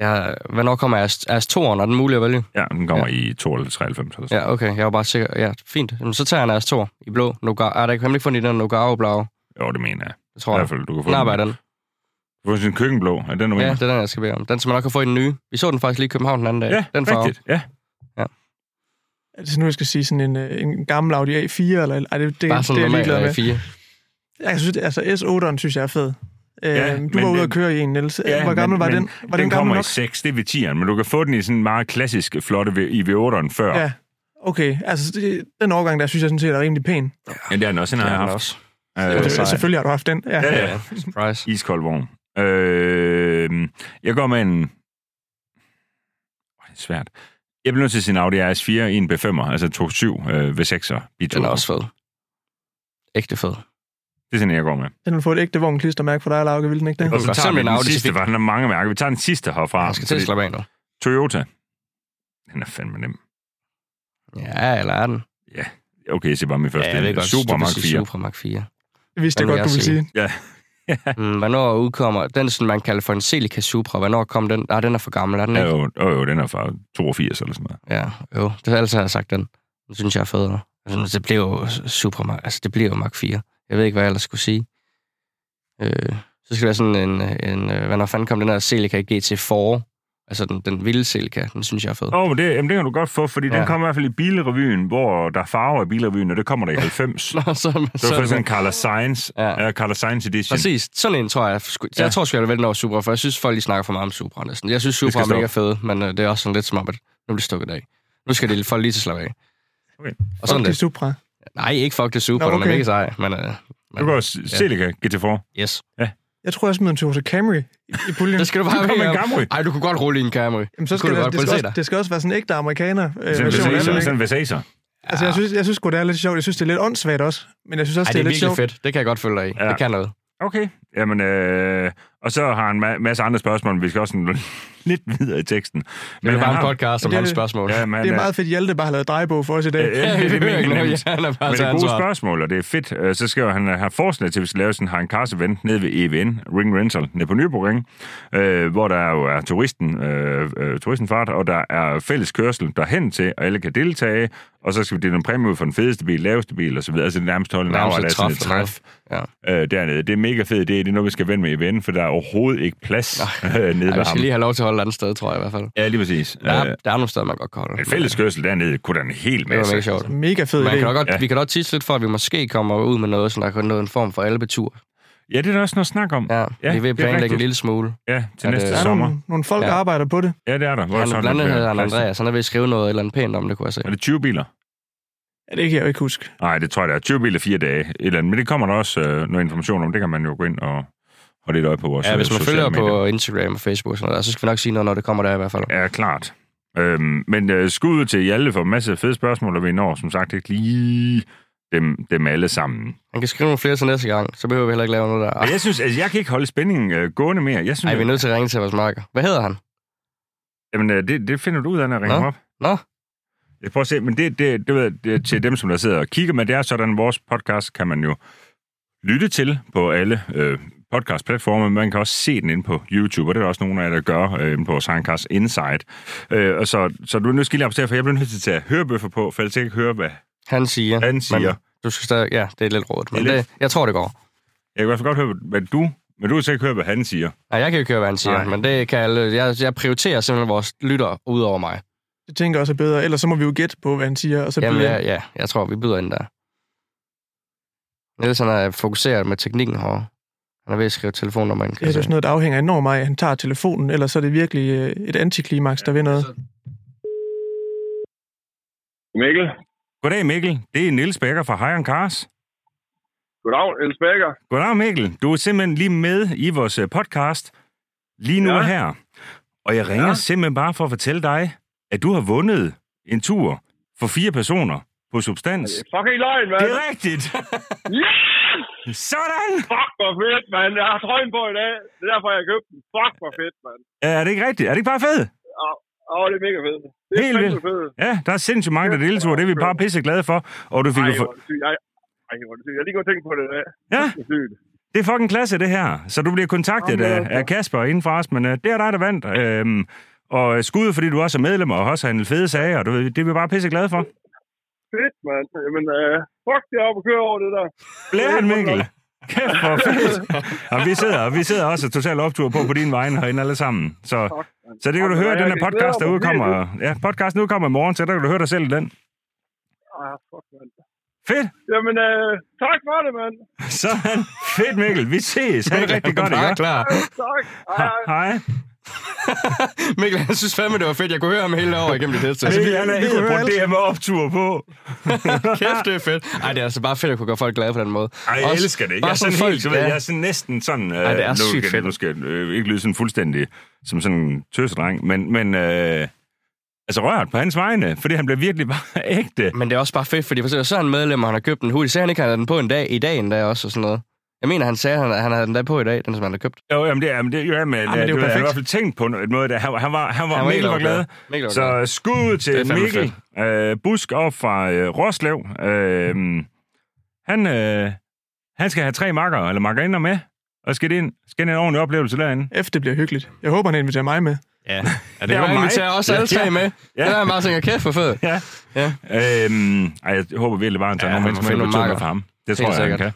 C: Ja, hvornår kommer AS, AS2'eren? Er den mulig at vælge?
A: Ja, den kommer ja. i 92 93. Eller sådan.
C: Ja, okay. Jeg var bare sikker. Ja, fint. Jamen, så tager jeg en AS2 i blå. Nogar. Er der ikke hemmelig fundet i den Nogaro blau?
A: Ja. Jo, det mener jeg.
C: Det
A: I
C: tror jeg.
A: hvert fald, du kan få
C: Den arbejder
A: den.
C: den.
A: Du kan få sin køkkenblå. Er den, du
C: Ja,
A: mener?
C: det er den, jeg skal bede om. Den, som man nok kan få i den nye. Vi så den faktisk lige i København den anden dag.
A: ja
C: den farve.
A: rigtigt. Ja.
B: Altså nu, jeg skal sige sådan en, øh, en gammel Audi A4, eller ej, det, det,
C: Bare
B: det er
C: sådan
B: jeg ligeglad med.
C: normalt A4.
B: Jeg synes, altså S8'eren synes jeg er fed.
A: Ja,
B: Ja, øhm, du
A: men
B: var ude
A: den-
B: at køre i en, Niels. Ja, Hvor gammel
A: men-
B: var
A: men
B: den? Var den,
A: den
B: gammel
A: kommer
B: nok?
A: i 6, det er ved 10'eren, men du kan få den i sådan en meget klassisk, flotte V- i V8'eren før. Ja.
B: Ja. Okay, altså det, den årgang der, synes jeg sådan set er rimelig pæn.
A: ja det er den også, den
C: Det
A: har jeg
C: er den
A: haft.
C: også.
B: Øh,
A: Øh,
C: sej.
B: selvfølgelig har du haft den. Ja.
A: Ja,
B: ja.
A: ja.
C: Ja, surprise.
A: Iskold vogn. Øh, jeg går med en... Åh, det er svært. Jeg bliver nødt til at sige en Audi RS4 i en B5'er, altså 2.7 øh, V6'er.
C: Den er også fed. Ægte fed.
B: Ah,
A: Det er sådan, jeg går med.
B: Den vil få et ægte vognklistermærke for dig, Lauke, vil den ikke det?
A: Og så
C: godt.
A: tager
C: Selvom
A: vi
C: en
A: den
C: Audi
A: sidste,
C: Civic-
A: for den har mange mærker. Vi tager den sidste herfra.
C: Jeg skal til at
A: fordi
C: slappe af nu.
A: Toyota. Den er fandme nem.
C: Ja, eller er den?
A: Okay, jeg siger bare min første.
C: ja, det er godt.
A: Supermark
C: Du vil sige
A: 4.
C: Supermark 4.
B: Jeg vidste jeg
C: Den vil
B: godt, du
C: jeg
B: ville
C: se.
B: sige.
C: Mm, hvornår udkommer... Den, som man kalder for en Celica Supra. Hvornår kom den? Nej, den er for gammel, er den
A: Ja,
C: ikke?
A: jo, jo, jo, den er fra 82 eller sådan noget.
C: Ja, jo. Det har altid jeg har sagt den. Den synes jeg er federe. Altså, det bliver jo Super Altså, det bliver jo Mark 4. Jeg ved ikke, hvad jeg ellers skulle sige. Øh, så skal det være sådan en... en øh, hvad når fanden kom den her Celica GT4? Altså, den, den vilde Celica, den synes jeg er fed.
A: Åh, oh, det, jamen, det kan du godt få, fordi ja. den
C: Ja.
A: kommer i hvert fald i Bilrevyen, hvor der er farver i Bilrevyen, og det kommer der i 90.
C: Nå, så,
A: Så er det for sådan en Carla Science,
C: Ja.
A: ja. uh, Carla Science Edition.
C: Præcis. Sådan en tror jeg... Sku,
A: Ja.
C: ja. Jeg tror sgu, jeg vil vælge den over Supra, for jeg synes, folk lige snakker for meget om Supra næsten. Jeg synes,
A: Det skal
C: Supra er mega fed, men øh, det er også sådan lidt som om, at nu bliver det stukket af. Nu skal det folk lige til at slappe af.
A: Okay.
C: Og sådan
B: det.
C: det.
B: Supra.
C: Nej, ikke fuck det Supra,
B: Nå,
C: Nå, okay. den
B: okay.
C: er mega sej, men... Øh,
A: Du
C: men
A: går Celica GT4.
C: yes.
B: Jeg tror, jeg smed en Toyota Camry i- i puljen.
C: Det skal du bare
A: Kom med en
C: være.
A: Camry.
C: Ej, du kunne godt rulle i en Camry.
B: Jamen, så
C: Det
B: skal
C: kunne
B: det,
C: du
B: være,
C: godt
B: det, skal
C: prøve
B: også,
C: at se
B: det skal også være sådan en ægte amerikaner. Øh,
A: Sådan en
B: version af den,
A: Versace-
B: ikke?
A: sådan en Versacer.
B: Altså, jeg synes, jeg synes sgu, det er lidt sjovt. Jeg synes, det er lidt åndssvagt også. Men jeg synes også,
C: Ej,
B: det er,
C: det er
B: lidt sjovt.
C: virkelig fedt. Det kan jeg godt følge dig i.
A: Ja.
C: Det kan noget.
A: Okay. Jamen, øh, Og så har han en masse andre spørgsmål, men vi skal også sådan lidt videre i teksten.
C: Det er
A: han
C: bare en
A: har-
C: podcast om
B: Det er
C: mange
B: det.
C: spørgsmål.
A: Ja, men,
B: Det er
A: øh,
B: meget fedt, Hjalte bare har lavet drejebog for os i dag.
A: Øh, ja, det er
C: hører ikke
A: min
C: noget.
A: nemt.
C: Ja, Altså, han er bare
A: Men det
C: taget
A: er gode
C: ansvar.
A: spørgsmål, og det er fedt. Øh, Så skal han øh, have forslag til, at vi skal lave sådan en Harren Kars event nede ved EVN, Ring Rental, nede på Nyborg øh, hvor der jo er turisten, øh, øh, turistenfart, og der er fælles kørsel derhen til, og alle kan deltage, og så skal vi dele en præmie ud for den fedeste bil, laveste bil osv., altså det er nærmest holde en
C: Nærmest
A: hour,
C: et
A: der er sådan et
C: træf,
A: træf
C: Ja.
A: øh, dernede. Det er en mega fed idé, det er noget, vi skal vende med EVN, for der er overhovedet ikke plads øh, nede
C: Ej, vi
A: ved ham.
C: skal lige have lov til at holde et andet sted, tror jeg i hvert fald.
A: Ja, lige præcis.
C: Der
A: Øh,
C: er, der er nogle steder, man godt kan holde.
A: en fælles kørsel dernede kunne der en hel
C: Det var
A: masse.
C: mega sjovt.
B: Mega fed
C: Man
B: idé.
C: kan dog godt,
A: Ja.
C: Vi kan godt tisse lidt for, at vi måske kommer ud med noget, så der kan nå en form for albetur.
A: Ja, det er der også noget snak om.
C: Ja,
A: Ja,
C: ja vi
A: det er
C: vil planlægge
A: rigtigt.
C: en lille smule.
A: Ja, til
C: Ja,
A: næste
C: det-
B: Der er
A: sommer.
B: nogle, nogle folk, der
C: Ja.
B: arbejder på det.
A: Ja, det er der. Hvor
C: Han,
A: sådan
C: blandt andet
A: lidt, øh,
C: hedder han
A: plads.
C: Andreas. Han er ved at skrive noget eller andet pænt om det, kunne jeg se.
A: Er det 20 biler?
B: Ja, det kan jeg jo ikke huske.
A: Nej, det tror jeg, det er. 20 biler, fire dage. Et eller andet. Men det kommer der også øh, noget information om. Det kan man jo gå ind og holde lidt øje på vores
C: Ja,
A: øh,
C: hvis man
A: sociale
C: følger
A: medier.
C: på Instagram og Facebook, og sådan noget, så skal vi nok sige noget, når det kommer der i hvert fald.
A: Ja, klart. Øhm, men øh, skud til Hjalte for en masse fede spørgsmål, og vi når som sagt ikke lige dem, dem alle sammen.
C: Han kan skrive nogle flere til næste gang, så behøver vi heller ikke lave noget der. Ah,
A: Men jeg synes, altså, jeg kan ikke holde spændingen øh, gående mere. Jeg synes,
C: Ej, vi er nødt til at ringe til vores marker. Hvad hedder han?
A: Jamen, øh, det, det finder du ud af, når jeg ringer
C: Nå.
A: ham op.
C: Nå.
A: Jeg prøver at se, men det, det, det, ved jeg, det er til dem, som der sidder og kigger, men det er sådan, vores podcast kan man jo lytte til på alle øh, podcastplatforme, men man kan også se den inde på YouTube, og det er der også nogle af jer, der gør øh, inde på vores Soundcast Insight. Øh, og så, så du er nødt til at rapportere, for jeg bliver nødt til at tage hørebøffer på, for ellers jeg kan ikke høre, hvad
C: Han siger.
A: han siger.
C: Men du skal stadig... Ja, det er lidt rådet, men
A: Det er
C: det, jeg tror, det går.
A: Jeg kan i hvert fald godt høre, hvad du... Men du kan sikkert høre, hvad han siger.
C: Nej, jeg kan jo ikke høre, hvad han siger,
A: Nej.
C: Nej. men det kan alle. Jeg, jeg prioriterer simpelthen vores lytter ud over mig.
B: Det tænker jeg også er bedre. Ellers så må vi jo gætte på, hvad han siger, og så
C: Jamen,
B: bliver
C: ja, ja, jeg tror, vi byder ind der. Niels, han er fokuseret med teknikken herovre. Han er ved at skrive telefonnummer ind.
B: Ja, det er jo sådan noget, der afhænger enormt meget af, at han tager telefonen, ellers så er det virkelig øh, et antiklimaks, der ved noget.
E: Mikkel.
A: Goddag Mikkel, det er Nils Bækker fra Hejren Cars.
E: Goddag, Niels Bækker.
A: Goddag Mikkel. Du er simpelthen lige med i vores øh, podcast lige nu
E: Ja.
A: ja. her. Og jeg ringer ja.
E: Ja.
A: simpelthen bare for at fortælle dig, at du har vundet en tur for fire personer på Substans. Det
E: Fucking løgn, mand.
A: er rigtigt.
E: Yes!
A: Sådan!
E: Fuck, hvor fedt, mand. Jeg har trøjen på i dag. Det er derfor, jeg har købt den. Fuck, hvor fedt, mand.
A: Er det ikke rigtigt? Er det ikke bare fedt?
E: Åh, oh, det er mega fedt. Det er
A: Helt
E: fandme
A: vildt.
E: fedt.
A: Ja, der er sindssygt mange, der deltog, og det er vi bare pisse glade for. Og du fik
E: Ej,
A: jo
E: hvor
A: for...
E: er det sygt. Ej, ej, hvor er det sygt. Jeg har lige gået og tænkt på det i dag.
A: Ja,
E: Det er sygt.
A: det er fucking klasse, det her. Så du bliver kontaktet
E: Jamen,
A: af,
E: altså.
A: af Kasper inden for os, men øh, det er dig, der vandt. Øhm, og skud, fordi du også er medlem og også har en fede sager, og du, ved, det er vi bare pisse glade for.
E: Fedt, mand. Jamen, øh, fuck, det er op og køre over det der.
A: Blære han, Mikkel. Kæft, hvor fedt. Og vi sidder, og vi sidder også totalt optur på på din vegne herinde alle sammen. Så, så det kan du høre, den her podcast, der udkommer. Ja, podcasten udkommer i morgen, så der kan du høre dig selv i den.
E: Ah, fuck, mand.
A: Fedt.
E: Jamen, øh, tak for det, mand.
A: Sådan. Fedt, Mikkel. Vi ses. Ha' det rigtig godt,
C: Ja,
A: ikke?
C: klar.
E: Tak. Hej, hej.
A: Ha- Hej.
C: Mikkel, jeg synes fandme, det var fedt. Jeg kunne høre ham hele over igennem det hele.
A: Altså,
C: Altså,
A: vi han er helt
B: høre
A: på
B: alt.
A: det her med optur på.
C: kæft, det er fedt. Ej, det er altså bare fedt at kunne gøre folk glade på den måde.
A: Ej, jeg
C: Også-
A: elsker det.
C: bare
A: Jeg er sådan
C: folk,
A: helt, du ved,
C: ja.
A: jeg er sådan næsten sådan... Øh,
C: Ej, det er
A: nu
C: sygt
A: skal-
C: fedt.
A: Nu skal jeg øh, ikke lyde sådan fuldstændig som sådan en tøsedreng, men, men øh, altså rørt på hans vegne, fordi han blev virkelig bare ægte.
C: Men det er også bare fedt, fordi for eksempel, så er han medlem, og han har købt en hoodie. Sagde han ikke, han havde den på en dag i dag endda også og sådan noget. Jeg mener, han sagde, at han, han havde den der på i dag, den som han havde købt.
A: Jo, jamen det, jamen det, ja, men,
B: det er
A: det
B: jo
A: du, ved, jeg har i
B: perfekt.
A: hvert fald tænkt på en måde, der. Han, var- han var, han var,
C: Han var
A: mega
C: helt
A: var glad.
C: overglad. Mikkel var glad.
A: Så skud
C: Det er
A: til
C: fandme
A: Mikkel øh, Busk op fra øh, Roslev. Øh, han, øh, han skal have tre makker eller makkerinder med, og skal det ind, skal det en ordentlig oplevelse derinde.
B: F, det bliver hyggeligt. Jeg håber, han inviterer mig med.
C: Ja, ja det
A: Det er
C: var
A: jo mig.
C: mig. tager også alle
A: Ja.
C: tre med.
A: Ja.
C: Ja. Det er han bare tænker, kæft for fedt.
A: Ja.
C: Ja.
A: Øhm, ej, jeg håber virkelig bare, at han tager
C: Ja,
A: ja, nogle
C: han må
A: mennesker
C: finde
A: med på
C: nogle
A: turen
C: makker.
A: for ham. Det
C: Helt
A: tror jeg, han
C: sikkert.
A: kan.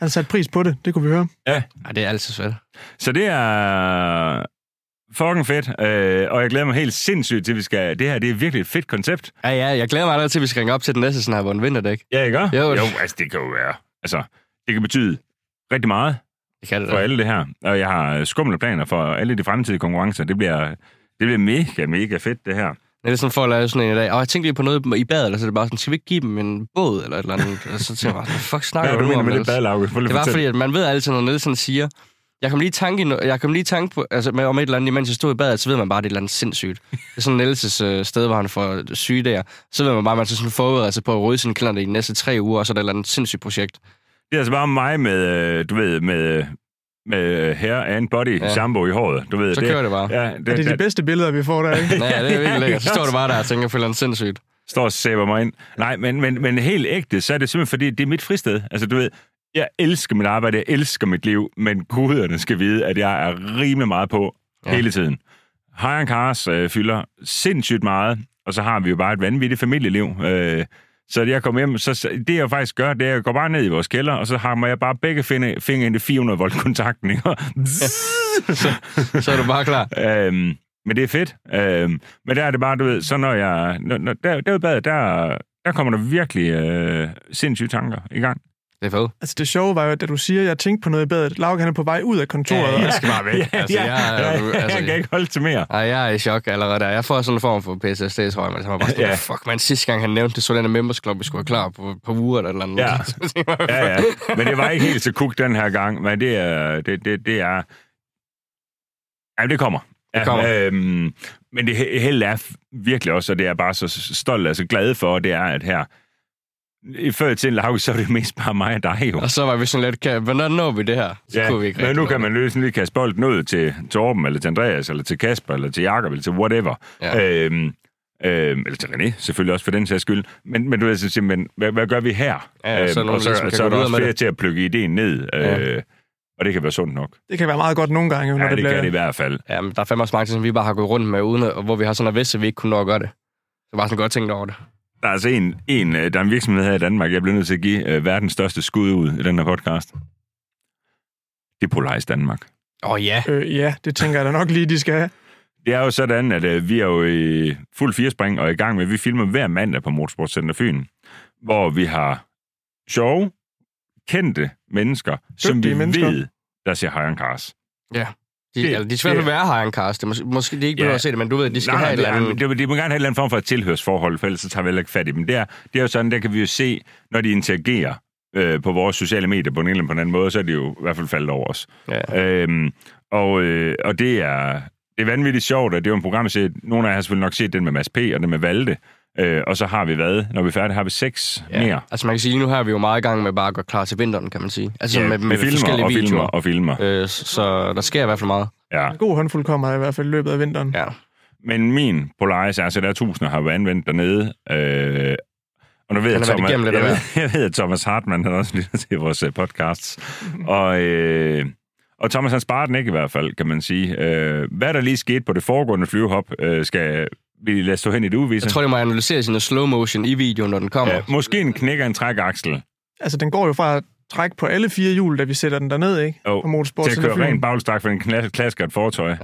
B: Han satte pris på det, det kunne vi høre.
C: Ej, det er altid fedt.
A: Så det er fucking fedt, øh, og jeg glæder mig helt sindssygt til, at vi skal... Det her, det er virkelig et fedt koncept.
C: Ja, ja, jeg glæder mig allerede til, at vi skal ringe op til den næste, sådan her, hvor en vinterdæk.
A: Ja, ikke? også?
C: Jo.
A: jo, altså det kan jo være. Altså, det kan betyde rigtig meget
C: Det kan det
A: for
C: da.
A: alle det her. Og jeg har øh, skumle planer for alle de fremtidige konkurrencer. Det bliver, det bliver mega, mega fedt, det her.
C: Det er sådan for at lave sådan en i dag. Og jeg tænkte lige på noget i badet, eller så er det bare sådan, skal vi ikke give dem en båd eller et eller andet? Og så tænker jeg bare, fuck snakker
A: Hvad er det, du mener
C: om,
A: med det
C: Niels?
A: badelauke?
C: Det var fordi, at man ved altid, når Nielsen siger, jeg kom lige i tanke, i no- jeg kom lige i tanke på, altså, med, om et eller andet, imens jeg stod i badet, så ved man bare, at det er et eller andet sindssygt. Det er sådan Nielses øh, sted, hvor han får syge der. Så ved man bare, at man skal sådan forberede sig på at rydde sin kalender i de næste tre uger, og så er der et eller andet sindssygt projekt.
A: Det er altså bare mig med, øh, du ved, med, øh, med hair and body ja.
C: Ja.
A: shampoo i håret. Du ved,
C: Så
A: det,
C: kører det bare.
A: Ja, det,
B: Er
A: det,
B: det de
A: det
B: bedste billeder, vi får der, ikke?
C: Ja, ja, det er
A: Ja,
C: virkelig lækkert. Så
A: ikke
C: står du bare der og tænker, føler han sindssygt.
A: står og sæber mig ind. Nej, men, men, men helt ægte, så er det simpelthen, fordi det er mit fristed. Altså, du ved, jeg elsker mit arbejde, jeg elsker mit liv, men guderne skal vide, at jeg er rimelig meget på ja.
C: Ja.
A: hele tiden. High Cars øh, fylder sindssygt meget, og så har vi jo bare et vanvittigt familieliv. Øh, så jeg kommer hjem, så så det jeg faktisk gør, det er, at jeg går bare ned i vores kælder, og så har jeg bare begge fingre, fingre ind i 400 volt kontakten, ikke? Og
C: Så, så er du bare klar.
A: Øhm, men det er fedt. Øhm, men der er det bare, du ved, så når jeg... Når, når, der, derude i badet, der, der kommer der virkelig øh, sindssyge tanker i gang.
C: Det er fedt.
B: Altså, det sjove var jo, at da du siger, at jeg tænkte på noget i badet, Lauke, han er på vej ud af kontoret.
C: Ja, ja.
B: og-
C: skal bare væk. Altså, jeg er-
A: jeg,
C: altså,
A: jeg kan ikke holde til mere.
C: Ej, jeg er i chok allerede der. Jeg får sådan en form for PTSD, tror jeg, men så var jeg bare sådan,
A: Ja.
C: ja. fuck, man, sidste gang han nævnte det, så den her members club, vi skulle have klar på et par uger eller et eller andet.
A: Ja.
C: Så tænkte jeg bare,
A: Ja, ja. Men det var ikke helt så kuk den her gang, men det er... Det, det, det er Jamen, det kommer.
C: Det kommer.
A: Ja, øhm, men det he- held er f- virkelig også, og det er jeg bare så stolt og så glad for, det er, at her... Før i tiden, Lauke, så var det mest bare mig og dig, jo.
C: Og så var vi sådan lidt, kan, hvornår når vi det her? Så
A: Ja,
C: kunne vi ikke
A: men
C: rigtig
A: nu kan
C: nå
A: man løsen lige kaste bolden ud til Torben, eller til Andreas, eller til Kasper, eller til Jakob, eller til whatever.
C: Ja.
A: Øhm, øhm, eller til René, selvfølgelig også for den sags skyld. Men, men du ved, så siger man, hvad, hvad gør vi her? Øhm,
C: Ja, ja, så er nogen,
A: og så,
C: der ligesom kan
A: så er
C: gå
A: der
C: videre
A: også
C: med
A: flere
C: det.
A: til at plukke ideen ned.
C: Ja.
A: Øh, og det kan være sundt nok.
B: Det kan være meget godt nogle gange, jo, når
A: Ja, det,
B: bliver...
A: kan det i hvert fald.
C: det. Ja, men der er fandme også mange ting, som vi bare har gået rundt med, uden at, og hvor vi har sådan at vidst, at vi ikke kunne nå at gøre det. Så bare sådan godt tænkt over det.
A: Der er altså en, en, øh, der er en virksomhed her i Danmark, jeg bliver nødt til at give øh, verdens største skud ud i den her podcast. Det er Polaris Danmark.
C: Åh oh, ja.
B: Øh, ja, det tænker jeg da nok lige, de skal have.
A: Det er jo sådan, at øh, vi er jo i fuld firespring og i gang med, at vi filmer hver mandag på Motorsportcenter Fyn, hvor vi har sjove, kendte mennesker, som vi
B: Dygtige mennesker.
A: ved, der ser High on Cars.
C: De,
A: Det-
C: det, altså, de er svært
A: det-
C: at være her, en cast. Det er Mås- måske de ikke
A: Ja.
C: behøver at se det, men du ved, de skal have et eller andet.
A: det, det, de må gerne have et eller andet form for et tilhørsforhold, for ellers så tager vi heller ikke fat i dem. Det er, det er jo sådan, der kan vi jo se, når de interagerer øh, på vores sociale medier på en eller anden måde, så er de jo i hvert fald faldet over os.
C: Ja.
A: Øhm, og, øh, og det er det er vanvittigt sjovt, og det er jo en program, set. Nogle af jer har selvfølgelig nok set den med Mads P. og den med Valde. Øh, og så har vi hvad? Når vi er færdige, har vi seks ja. mere.
C: Altså man kan sige, nu her er vi jo meget i gang med bare at gå klar til vinteren, kan man sige. Altså med,
A: vi
C: med
A: filmer
C: forskellige
A: og filmer
C: videoer.
A: og filmer.
C: Øh, så- så der sker i hvert fald meget.
A: Ja.
B: En god håndfuld kommer i hvert fald i løbet af vinteren.
C: Ja.
A: Men min Polaris, altså der er tusinder, har været anvendt dernede. Øh, og nu ved
C: har
A: jeg,
C: været
A: Thomas,
C: igennem lidt
A: jeg,
C: af
A: ved, jeg ved, at Thomas Hartmann han også lytter til vores øh, podcasts. Og, øh, og Thomas, han sparer den ikke i hvert fald, kan man sige. Øh, hvad der lige skete på det foregående flyvehop, øh, skal vi lade stå hen i det uvisse.
C: Jeg tror, det må analysere sine slow motion i videoen, når den kommer.
A: Ja, Øh, måske en knækker en trækaksel
B: Altså, den går jo fra at trække på alle fire hjul, da vi sætter den derned, ikke?
A: Jo,
B: på motorsport
A: til at køre ren bagstak for en knas- klasker et fortøj
C: Ja.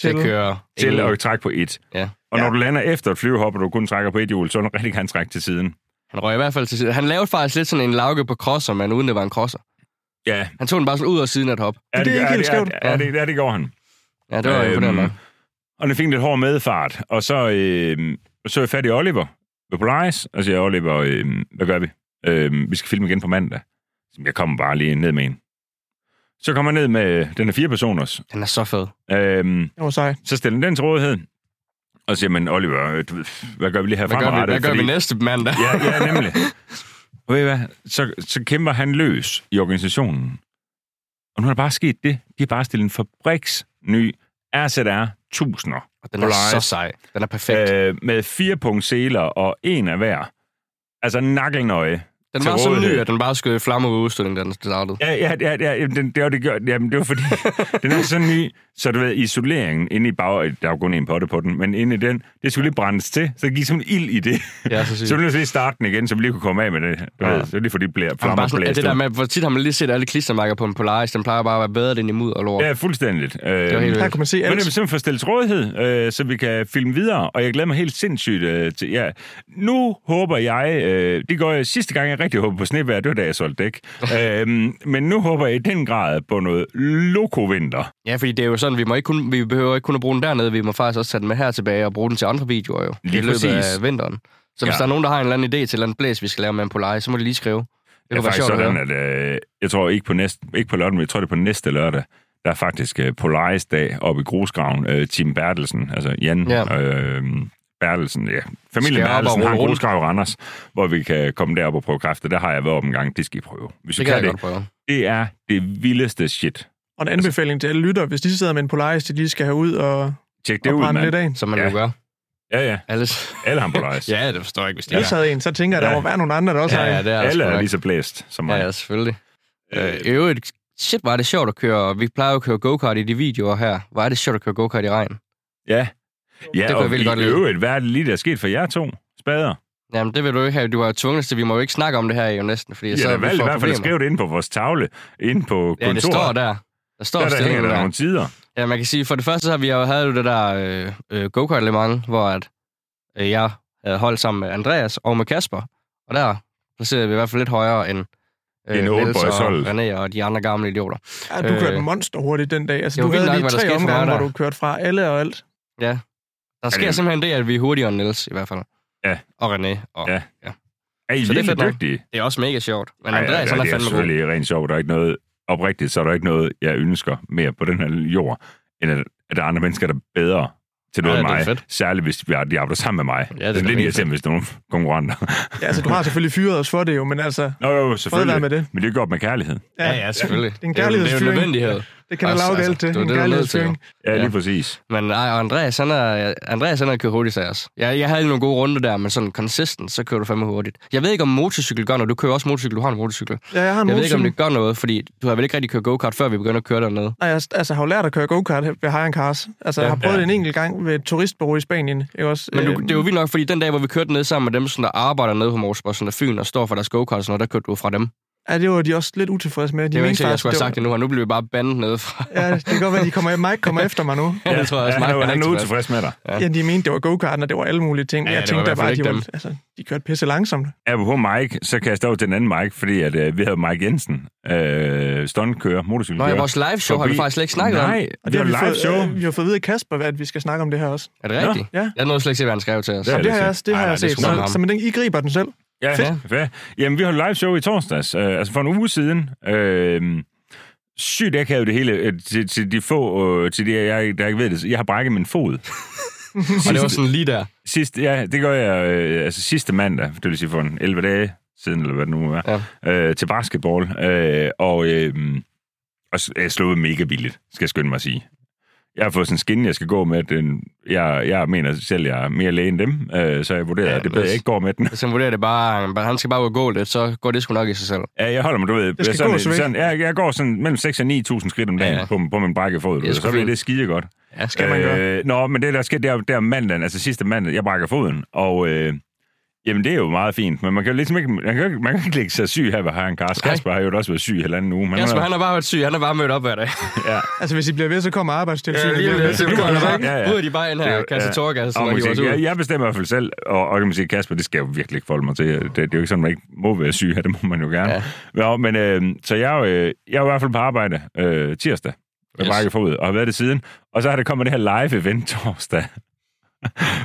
C: Til
B: til,
C: at køre.
A: til at trække på et.
C: Ja.
A: Og når
B: Ja.
A: du lander efter et flyvehop, og du kun trækker på et hjul, så vil du rigtig gerne trække til siden.
C: Han røg i hvert fald til siden. Han lavede faktisk lidt sådan en lauke på crosser, men uden det var en crosser.
A: Ja,
C: Han tog den bare sådan ud af siden af et hop.
B: det er ikke helt
A: er,
B: skævt.
A: er, er, det, er det går han.
C: Ja, det var
A: Øhm,
C: øhm, imponerende. nok.
A: mm. Og den fik en lidt hård medfart, og så, øh, så er jeg fat i Oliver ved Polaris, og siger, Oliver, øh, hvad gør vi? Øh, vi skal filme igen på mandag. Så Jeg kommer bare lige ned med en. Så kommer jeg ned med, den er fire personers.
C: Den er så fed.
A: Øh,
B: Det var sej.
A: så stiller den den til rådighed, og siger, men Oliver, øh, du ved, hvad gør vi lige her
C: Hvad gør vi,
A: fremadrettet?
C: hvad gør vi
A: Fordi-
C: næste mandag?
A: Ja, ja nemlig. Og ved I hvad? Så, så kæmper han løs i organisationen. Og nu er der bare sket det. De har bare stillet en fabriksny RZR 1000'er
C: Og Den er
A: Polaris.
C: så sej. Den er perfekt. Øh,
A: øh, med fire punkt seler og en af hver. Altså nakkelnøje.
C: den
A: til
C: var så
A: rådighed.
C: ny, at den bare skød i flammer ved udstillingen, da den startede.
A: Ja, ja, ja, ja jamen, den, det var det gjort. Jamen, det var fordi, den er sådan ny, så du ved, isoleringen inde i bag, der er jo kun en potte på den, men inde i den, det skulle lige brændes til, så det gik som ild i det.
C: Ja, så sygt.
A: Så vi nødt til lige at starte den igen, så vi lige kunne komme af med det. Du ja. ved,
C: Ja.
A: så lige fordi bliver
C: Jamen,
A: flammer
C: bare sådan, at
A: blæst
C: det der
A: ud.
C: med, hvor tit har man lige set alle klistermærker på en Polaris, den plejer bare at være bedre end i mudder og lort.
A: Ja, fuldstændigt. Øh,
C: det var helt
B: Her
C: vildt.
B: kan man se
A: Men det er
B: alt.
A: simpelthen for at stille til rådighed, øh, så vi kan filme videre, og jeg glæder mig helt sindssygt øh, til ja. Nu håber jeg, øh, det går jeg sidste gang, jeg rigtig håber på snevejr, det var da jeg solgte dæk. øhm, men nu håber jeg i den grad på noget lokovinter.
C: Ja, fordi det er jo sådan, vi, må ikke kun, vi behøver ikke kun at bruge den dernede, vi må faktisk også tage den med her tilbage og bruge den til andre videoer jo.
A: Lige
C: I løbet
A: præcis.
C: af vinteren. Så hvis
A: Ja.
C: ja. der er nogen, der har en eller anden idé til en eller anden blæs, vi skal lave med en Polaris, så må de lige skrive. Det
A: Det er
C: kunne være
A: faktisk
C: sjovt at
A: sådan,
C: høre.
A: at øh, jeg tror ikke på, næste, ikke på lørdag, men jeg tror det er på næste lørdag, der er faktisk øh, Polaris-dag oppe i Grusgraven. Øh, Tim Bertelsen, altså Jan ja.
C: Ja.
A: øh, Bertelsen, ja. Familien
C: Skal jeg op og
A: Bertelsen har en
C: rulle rundt?
A: grusgrav i Randers, hvor vi kan komme derop og prøve kræfter. Der har jeg været op en gang, det skal I prøve. Hvis I
C: Det kan jeg
A: det,
C: godt prøve.
A: det er det vildeste shit.
B: Og en anbefaling til alle lytter, hvis de sidder med en Polaris, de lige skal have ud og,
A: Tjek det
B: og
A: ud,
B: brænde lidt
A: mand.
B: af.
C: Som man
A: Ja.
C: jo gør.
A: Ja, ja.
C: Alles.
A: Alle har Polaris.
C: Ja, det forstår jeg ikke, hvis det
B: Jeg
C: er.
B: sad en, så tænker jeg, at der
A: Ja.
B: må være nogle andre, der også
C: Ja,
B: har en.
C: ja, det er der
A: Alle
C: sgu
A: er
C: nok.
A: lige så blæst som mig.
C: Ja, ja, selvfølgelig. Øh,
A: Øh,
C: I øvrigt, shit, var det sjovt at køre. Vi plejer jo at køre go-kart i de videoer her. Var det sjovt at køre go-kart i regn?
A: ja.
C: kunne
A: ja
C: jeg
A: og
C: vildt
A: i
C: godt lide.
A: øvrigt, hvad er det lige, der er sket for jer to? Spader.
C: Jamen, det vil du ikke have. Du har jo tvunget til, vi må jo ikke snakke om det her jo næsten, fordi
A: Ja,
C: så
A: der
C: vi
A: valgte i
C: får
A: hvert fald at
C: problemer.
A: skrive det inde på vores tavle, inde på kontoret.
C: Ja, det står der. Der står
A: Der, der hænger
C: stillingen
A: der
C: der.
A: nogle tider.
C: Ja, man kan sige, for det første så har vi jo havde jo det der øh, øh, go-kart Le Mans, hvor at, øh, jeg havde holdt sammen med Andreas og med Kasper, og der placerede vi i hvert fald lidt højere end øh,
A: End Old
C: Niels og
A: Boys holdet.
C: René og de andre gamle idioter.
B: Ja, du kørte
C: Øh,
B: monster hurtigt den dag. Altså,
C: det
B: du
C: var vildt
B: havde
C: nok,
B: lige
C: hvad der skete
B: tre
C: for mig
B: omgange,
C: der.
B: hvor du kørte fra alle og alt.
C: Der sker
A: det-
C: simpelthen det, at vi er hurtigere end Niels i hvert fald.
A: Ja.
C: Og René. Og,
A: Ja.
C: ja.
A: Er I
C: Så det er fedt
A: virkelig
C: nok.
A: dygtige?
C: Det er også mega sjovt. Men
A: Ej,
C: Andreas, han er
A: det er
C: fandme god.
A: selvfølgelig rent sjovt. Der er ikke noget oprigtigt, så er der ikke noget, jeg ønsker mere på den her jord, end at, at der er andre mennesker, der er bedre til noget
C: Ja,
A: ja,
C: det er
A: mig.
C: fedt.
A: Særligt, hvis vi har- de arbejder sammen med mig.
C: det
A: det
C: er
A: er,
C: da
A: lidt
C: mega
A: irriterende, hvis der er nogle konkurrenter.
B: Ja, altså, du har selvfølgelig fyret os for det jo, men altså,
A: Nå jo,
B: fred være
A: selvfølgelig.
B: med det.
A: Men det er gjort med kærlighed.
C: Ja, ja, selvfølgelig.
B: Det er en
C: jo- Det er jo
B: kærlighedsfyring.
C: en nødvendighed.
B: Det kan der lave galt til.
C: det er
B: En
C: det, du er nødt til, jo.
B: kærlighedsfyring.
A: Ja,
C: Ja.
A: lige præcis.
C: Men nej, og Andreas, han er, Andreas, han er kørt hurtigt, sagde os. Jeg, jeg havde nogle gode runder der, men sådan consistent, så kører du fandme hurtigt. Jeg ved ikke, om motorcykel gør noget. Du kører også motorcykel, du har en motorcykel. Jeg
B: Ja, jeg har en
C: ved ikke, om
B: motorcykel.
C: det gør noget, fordi du har vel ikke rigtig kørt go-kart, før vi begynder at køre dernede.
B: Nej, jeg altså, jeg har jo lært at køre go-kart ved Hayan Cars. Altså, jeg har prøvet
A: Ja.
B: det en enkelt gang ved et turistbureau i Spanien. Ikke også?
C: Men du,
B: Øhm,
C: det er jo vildt nok, fordi den dag, hvor vi kørte ned sammen med dem, sådan, der arbejder nede på Motorsport, sådan der Fyn og står for deres go-kart, og sådan noget, der kørte du fra dem. De
B: Ja, det var de også lidt utilfredse med. De
C: det er jo
B: mente
C: ikke sikkert, jeg
B: faktisk,
C: skulle have sagt
B: det.
C: det nu, og nu bliver vi bare bandet nede fra.
B: var- Ja, det kan godt være, de kommer, Mike kommer efter mig nu.
C: Ja, det tror jeg også,
A: ja,
C: Mark
A: han, er-
C: er
A: han er
C: rigtig
A: utilfreds med dig.
C: Ja.
B: Ja, de mente, det var go-karten, og det var alle mulige ting.
C: Ja,
B: jeg
C: det var i
B: tænkte da
C: hvert fald
B: bare,
C: ikke
B: de, var,
C: dem.
B: altså, de kørte pisse langsomt.
A: Apropos Mike, så kan jeg stå til den anden Mike, fordi at, øh, vi havde Mike Jensen, øh, stuntkører,
C: Nå
A: motorcykelkører.
C: ja, vores live show har vi
A: forbi.
C: faktisk slet ikke snakket om.
A: Nej, det,
B: Og
A: det
B: har
A: var
B: vi,
A: live show.
B: fået, øh, vi har fået at vide af Kasper, at vi skal snakke om det her også.
C: Er det rigtigt?
B: ja.
C: Jeg nåede slet ikke se, hvad han skrev til os.
A: Ja,
B: Ja, det
A: det
B: har
A: er
B: jeg også, det
A: fedt.
B: har
A: Ej,
B: jeg
A: nej, det
B: set.
A: er sgu
C: nok
B: Så,
C: ham.
B: så, men den, I griber den selv.
A: Ja,
C: Fedt.
A: fedt. fedt. Jamen, vi holdt live show i torsdags, øh, altså for en uge siden. Øh, sygt akavet det hele øh, til, til de få, øh, til de, jeg, der ikke ved det. Jeg har brækket min fod.
C: Og det var sådan lige der.
A: Sidste, ja, det gør jeg øh, altså sidste mandag, det vil sige for en 11 dage siden, eller hvad det nu må være, ja. øh, til basketball. Øh, og, øh, og s- jeg slog mega billigt, skal jeg skynde mig at sige. Jeg har fået sådan en skinne, jeg skal gå med. Den, jeg, jeg mener selv, jeg er mere læge end dem, øh, så jeg vurderer,
C: Ja,
A: ja, at det er
C: men
A: bedre, jeg
C: hvis-
A: ikke går med den.
C: Hvis han vurderer det bare, at han skal bare ud og gå lidt, så går det sgu nok i sig selv.
A: Ja, jeg holder mig, du ved.
B: skal
A: sådan,
B: gås væk.
A: sådan, jeg, jeg går sådan mellem 6 og 9.000 skridt om dagen
C: Ja,
A: ja,
C: ja.
A: ja. På, på min brække fod.
C: Det er
A: Det
C: sgu
A: så bliver
C: fint.
A: det skide godt.
C: Ja, skal
B: Skal man gøre.
A: Øh, nå, men det der sker, det er, det er mandagen, altså sidste mandag, jeg brækker foden, og øh, jamen det er jo meget fint, men man kan jo ligesom ikke, man kan, jo ikke- man kan ikke lægge sig syg her ved Hagen Kars.
C: Nej.
A: Kasper har jo også været syg i halvanden uge. men
C: Kasper, han har bare været syg. Han har bare mødt op hver dag.
A: ja,
B: Altså, hvis I bliver ved, så kommer arbejdstilsynet.
C: lige
B: igen.
C: lidt. Så kommer der
A: Ja,
C: bare,
A: ja.
C: bryder de bare ind
A: Det er
C: her,
A: jo-
C: kasse
A: ja.
C: tårgas,
A: og
C: når
A: man
C: de var
A: siger, jeg,
C: ud.
A: jeg bestemmer i hvert fald selv, og, og kan man sige, Kasper, det skal jeg jo virkelig ikke forholde mig til. Det, det er jo ikke sådan, man ikke må være syg her, det må man jo gerne.
C: Ja.
A: Ja. Nå, men øh, så jeg, er jo, øh, jeg er jo i hvert fald på arbejde øh, tirsdag, med
C: Yes.
A: yes. brækket fod, og har været det siden. Og så har der kommet det her live-event torsdag,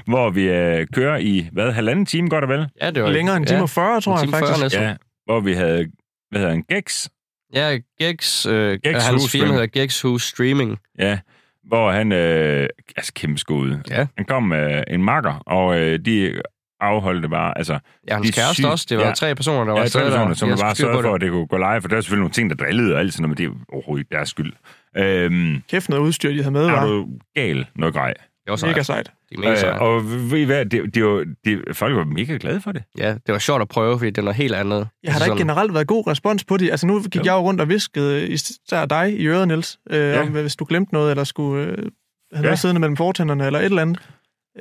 A: hvor vi øh, kører i, hvad, halvanden time, godt og vel?
C: Ja, det var
B: Længere end
C: ja,
B: timer 40, tror
C: en
B: jeg
C: time fyrre
B: faktisk.
C: næsten.
A: Ja, hvor vi havde, hvad hedder han, Gex?
C: Ja, Gex, øh,
A: Gex
C: hans
A: Hus
C: firma
A: Streaming.
C: hedder Gex Hus Streaming.
A: Ja, hvor han, øh, altså kæmpe skud.
C: Ja.
A: Han kom med øh, en makker, og øh, de afholdte bare, altså,
C: Ja, hans
A: Det er
C: kæreste
A: sygt.
C: også. Det var
A: Ja.
C: tre personer, der var
A: ja,
C: afsted
A: tre personer, som bare
C: Jeg skulle styre på
A: sørgede for,
C: det.
A: at det kunne gå live, for der er selvfølgelig nogle ting, der drillede og alt sådan noget, men det er overhovedet ikke deres skyld. Øhm,
B: Kæft noget udstyr, de havde med,
A: er
B: var.
A: du gal noget grej?
C: Det var
B: Mega
C: sejt.
B: sejt.
C: Det er mega sejt.
A: Øh, og ved I hvad, det, det, var, det, folk var mega glade for det.
C: Ja, det var sjovt at prøve, fordi det er noget helt andet.
B: Jeg har da ikke
C: Sådan-
B: generelt været god respons på det. Altså, nu gik jeg jo rundt og viskede især dig i øret, Niels, øh,
A: Ja.
B: ja. om, hvis du glemte noget, eller skulle øh, have noget
A: Ja.
B: siddende mellem fortænderne, eller et eller andet.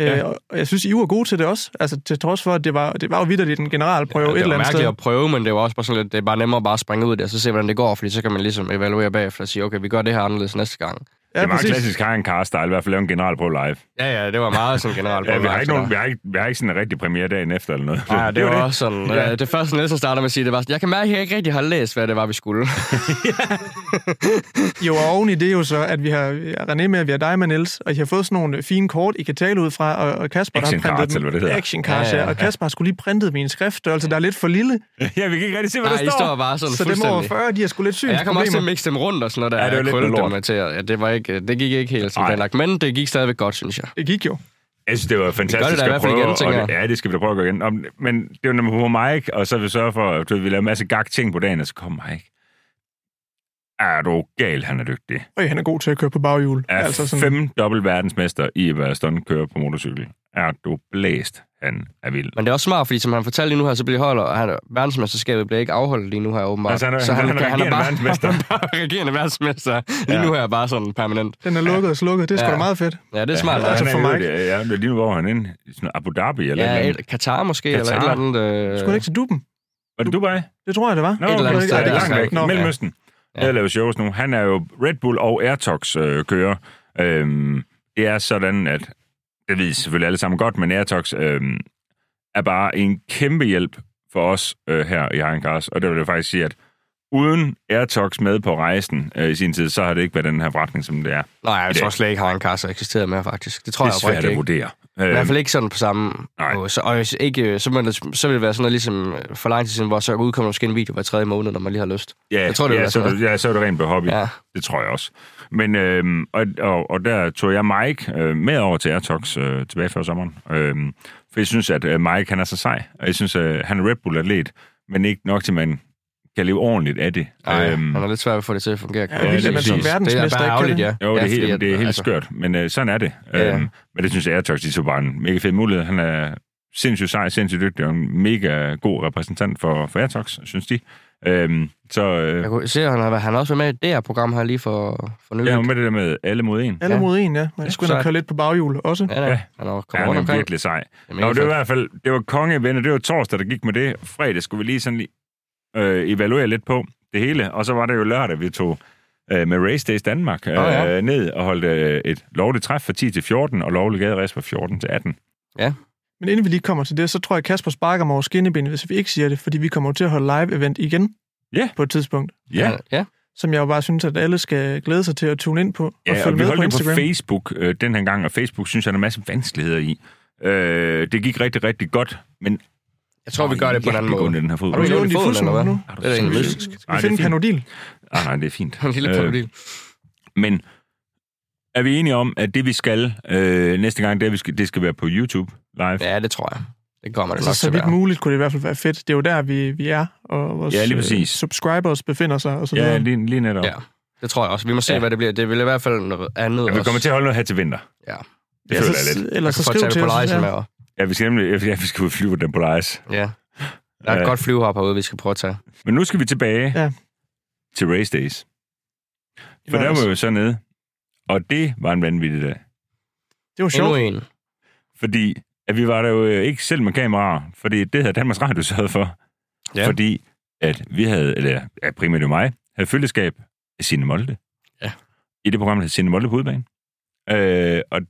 B: Øh,
A: Ja.
B: og, og jeg synes, I var gode til det også. Altså, til trods for, at det var, det var jo vidderligt en generalprøve ja, et
C: det
B: eller
C: var
B: andet
C: mærkeligt
B: sted.
C: at prøve, men det var også bare sådan lidt, det er bare nemmere bare at springe ud der, og så se, hvordan det går, fordi så kan man ligesom evaluere bagefter og sige, okay, vi gør det her anderledes næste gang.
A: Ja, det
B: Ja,
A: var en
B: præcis.
A: klassisk Karin Karstyle, i hvert fald lave en general på live.
C: Ja, ja, det var meget sådan generelt.
A: Ja, vi, har ikke nogen, vi, har ikke, vi har ikke sådan en rigtig premiere dagen efter eller noget.
C: Ja, det
A: jo
C: var også sådan.
A: Ja.
C: Ja. Det første, Nielsen starter med at sige, det var sådan, jeg kan mærke, at jeg ikke rigtig har læst, hvad det var, vi skulle.
B: Jo, og oven i det er jo så, at vi har vi har René med, og vi har dig med, Niels, og I har fået sådan nogle fine kort, I kan tale ud fra, og, og Kasper, der har
A: Action
B: printet
A: cards,
B: dem.
A: eller hvad det hedder.
B: Action cards, ja,
C: Ja, ja,
B: ja, Og Kasper har skulle lige printet min skriftstørrelse, der er lidt for lille,
A: Ja, vi kan ikke rigtig se, hvad
C: Nej,
A: der
C: I
A: står.
C: står bare sådan
B: så dem over
C: fuldstændig.
B: 40, de har sgu lidt
C: Ja, jeg kom også til at
B: synsproblemer.
C: mixe dem rundt og sådan noget, der
A: Ja, det var
C: jeg
A: lidt noget
C: krøllede dem
A: lort.
C: med til. Ja, det, var ikke, øh, det gik ikke helt som
A: Nej.
C: planlagt, men det gik stadigvæk godt, synes jeg.
B: Det gik jo.
A: Jeg synes, det var fantastisk
C: da i hvert
A: at
C: fald
A: prøve.
C: igen, tænker
A: og det, ja, det skal vi da prøve at gøre igen. Og, men det var nemlig på Mike, og så vil vi sørge for, at du ved, vi laver en masse gag ting på dagen, og så kom Mike. er du gal, han er dygtig.
B: Og han er god til at køre på baghjul.
A: Er altså sådan... fem dobbelt verdensmester i at være stuntkører på motorcykel. Er du blæst, han er vild.
C: Men det er også smart, fordi som han fortalte lige nu her, så bliver holder, og han, verdensmesterskabet bliver ikke afholdt lige nu her, åbenbart.
A: Altså, han er- han er regerende verdensmester.
C: Han er bare regerende verdensmester. Lige
A: Ja.
C: nu her, bare sådan permanent.
B: Den er lukket og slukket. Det er sgu
C: Ja.
B: da meget fedt.
C: Ja, det er smart.
A: Ja,
C: Ja,
B: altså,
A: han er
B: for
A: i
B: mig-
A: øvrigt, Ja, ja, lige nu, hvor er han inde. I Sådan Abu Dhabi eller
C: ja,
A: ja,
C: et, Katar måske, Katar. eller et
A: Qatar.
C: eller andet. Øh...
B: Skulle han ikke til Duben?
A: Var det Dubai?
B: Det tror jeg, det var.
A: Nå,
C: Et eller andet
A: okay,
C: sted,
A: ja, det
C: der
A: er
C: er
A: langt væk.
C: langt. Nå.
A: Mellemøsten.
C: Ja.
A: Jeg laver shows nu. Han er jo Red Bull og Airtox øh, kører. Øhm, det er sådan, at det ved I selvfølgelig alle sammen godt, men Airtox øhm, er bare en kæmpe hjælp for os øh, her i Hagenkars. Og det vil jeg faktisk sige, at uden Airtox med på rejsen øh, i sin tid, så har det ikke været den her forretning, som det er.
C: Nej, jeg
A: det-
C: tror slet ikke, har en kasse eksisteret mere, faktisk. Det tror
A: Det
C: jeg
A: er svært
C: oprigtigt
A: at
C: ikke.
A: vurdere.
C: I hvert
A: Øhm,
C: fald ikke sådan på samme
A: Nej.
C: måde. Så, og hvis ikke, øh, så, vil det, så vil det være sådan noget ligesom øh, for lang tid siden, hvor så udkommer der måske en video hver tredje måned, når man lige har lyst.
A: ja,
C: jeg tror, det vil
A: ja,
C: være
A: så, er
C: sådan
A: det- ja, så er det rent på hobby.
C: Ja.
A: Det tror jeg også. Men, øhm, og, og, og der tog jeg Mike øh, med over til Airtox øh, tilbage før sommeren. Øhm, for jeg synes, at øh, Mike han er så sej. Og jeg synes, øh, han er Red Bull-atlet, men ikke nok til, at man kan leve ordentligt af det.
C: Ej, øhm, han er lidt svært at få det til at fungere.
B: Ja, vildt, at man som
A: præcis.
B: verdensmester
C: det er
B: ikke
C: bare
B: kan
C: ærgerligt,
B: det.
C: ja.
A: jo, det,
C: ja,
A: er helt,
C: fordi at-
A: det er helt
C: altså,
A: skært, men øh, sådan er det.
C: Ja.
A: Øhm, men det synes jeg, Airtox, de tog bare en mega fed mulighed. Han er sindssygt sej, sindssygt dygtig, og en mega god repræsentant for, for Airtox, synes de. Øhm, så øh,
C: Jeg kunne se, at han har, været- han har også været med i det her program her lige for, for nylig.
A: jeg er jo med det der med alle mod en.
B: Alle
C: Ja.
B: mod en, ja. Men jeg
C: Det
B: skulle
C: skulle
B: ind og køre lidt på baghjul også.
C: Ja,
A: Ja.
C: ja. Han har kommet
A: Ja,
C: rundt
A: han er
C: omkring.
A: virkelig sej.
C: er mega
A: Nå, det var i
C: fedt.
A: hvert fald, det var kongevenner, det var torsdag, der gik med det. Fredag skulle vi lige sådan lige øh, evaluere lidt på det hele, og så var det jo lørdag, vi tog øh, med Race Days Danmark øh, oh,
C: ja.
A: ja. ned og holdt øh, et lovligt træf fra 10 til 14, og lovlig gaderæs fra 14 til 18.
B: Men inden vi lige kommer til det, så tror jeg, Kasper sparker mig over skinnebenet, hvis vi ikke siger det, fordi vi kommer jo til at holde live-event igen
A: Ja.
B: på et tidspunkt,
A: Ja,
C: ja.
B: som jeg jo bare synes, at alle skal glæde sig til at tune ind på og
A: ja og
B: følge
A: vi
B: med på
A: holdt det på
B: Instagram.
A: Facebook øh, den her gang, og Facebook synes jeg, der er en masse vanskeligheder i. Øh, det gik rigtig, rigtig godt, men...
C: Jeg tror, vi gør det på en anden måde.
A: Den her fod.
C: Har du
B: Vi
C: ikke
B: låner
C: ondt i
B: de
C: foden,
B: fudsmål
C: eller hvad?
B: nu.
A: Er
C: Det er da egentlig
A: sindssyg?
C: mystisk.
B: Skal
A: Nej,
B: vi
A: det er
B: finde
A: fint.
B: en panodil?
A: Ah, nej, det er fint.
C: En lille
A: Øh,
C: krokodil.
A: Men er vi enige om, at det vi skal øh, næste gang, det, er, vi skal, det skal være på YouTube live? Ja,
C: Ja, det tror jeg. Det kommer det
B: Altså,
C: nok til
B: så
C: at
B: vidt
C: være.
B: muligt kunne det i hvert fald være fedt. Det er jo der, vi, vi er, og vores
A: Ja, lige
B: øh,
A: præcis.
B: subscribers befinder sig. Og så
A: ja
B: videre.
A: lige, lige netop. Ja.
C: Ja. Det tror jeg også. Vi må se,
A: Ja.
C: hvad det bliver. Det vil i hvert fald noget andet
A: Ja, vi kommer til at holde noget her til vinter.
C: Ja.
A: Det føler jeg lidt.
B: så, eller så
C: få
B: skriv
C: taget
B: til
C: på
B: os.
C: lejse med.
B: Ja.
C: og-
A: Ja, vi skal nemlig ja, vi skal ud og flyve på den på Leis.
C: Ja. Der er
A: Ja.
C: et godt flyvehop herude, vi skal prøve at tage.
A: Men nu skal vi tilbage
B: Ja.
A: til race days. For der
B: lørdags.
A: var vi jo så nede, og det var en vanvittig dag.
B: Det var
C: Endnu
B: sjovt.
C: en.
A: Fordi at vi var der jo øh, ikke selv med kameraer, fordi det havde Danmarks Radio sørget for.
C: Ja.
A: Ja. Fordi at vi havde, eller ja, primært jo mig, havde følgeskab af Signe Molde.
C: Ja.
A: I det program, der hed Signe Molde på udbanen. Øh, og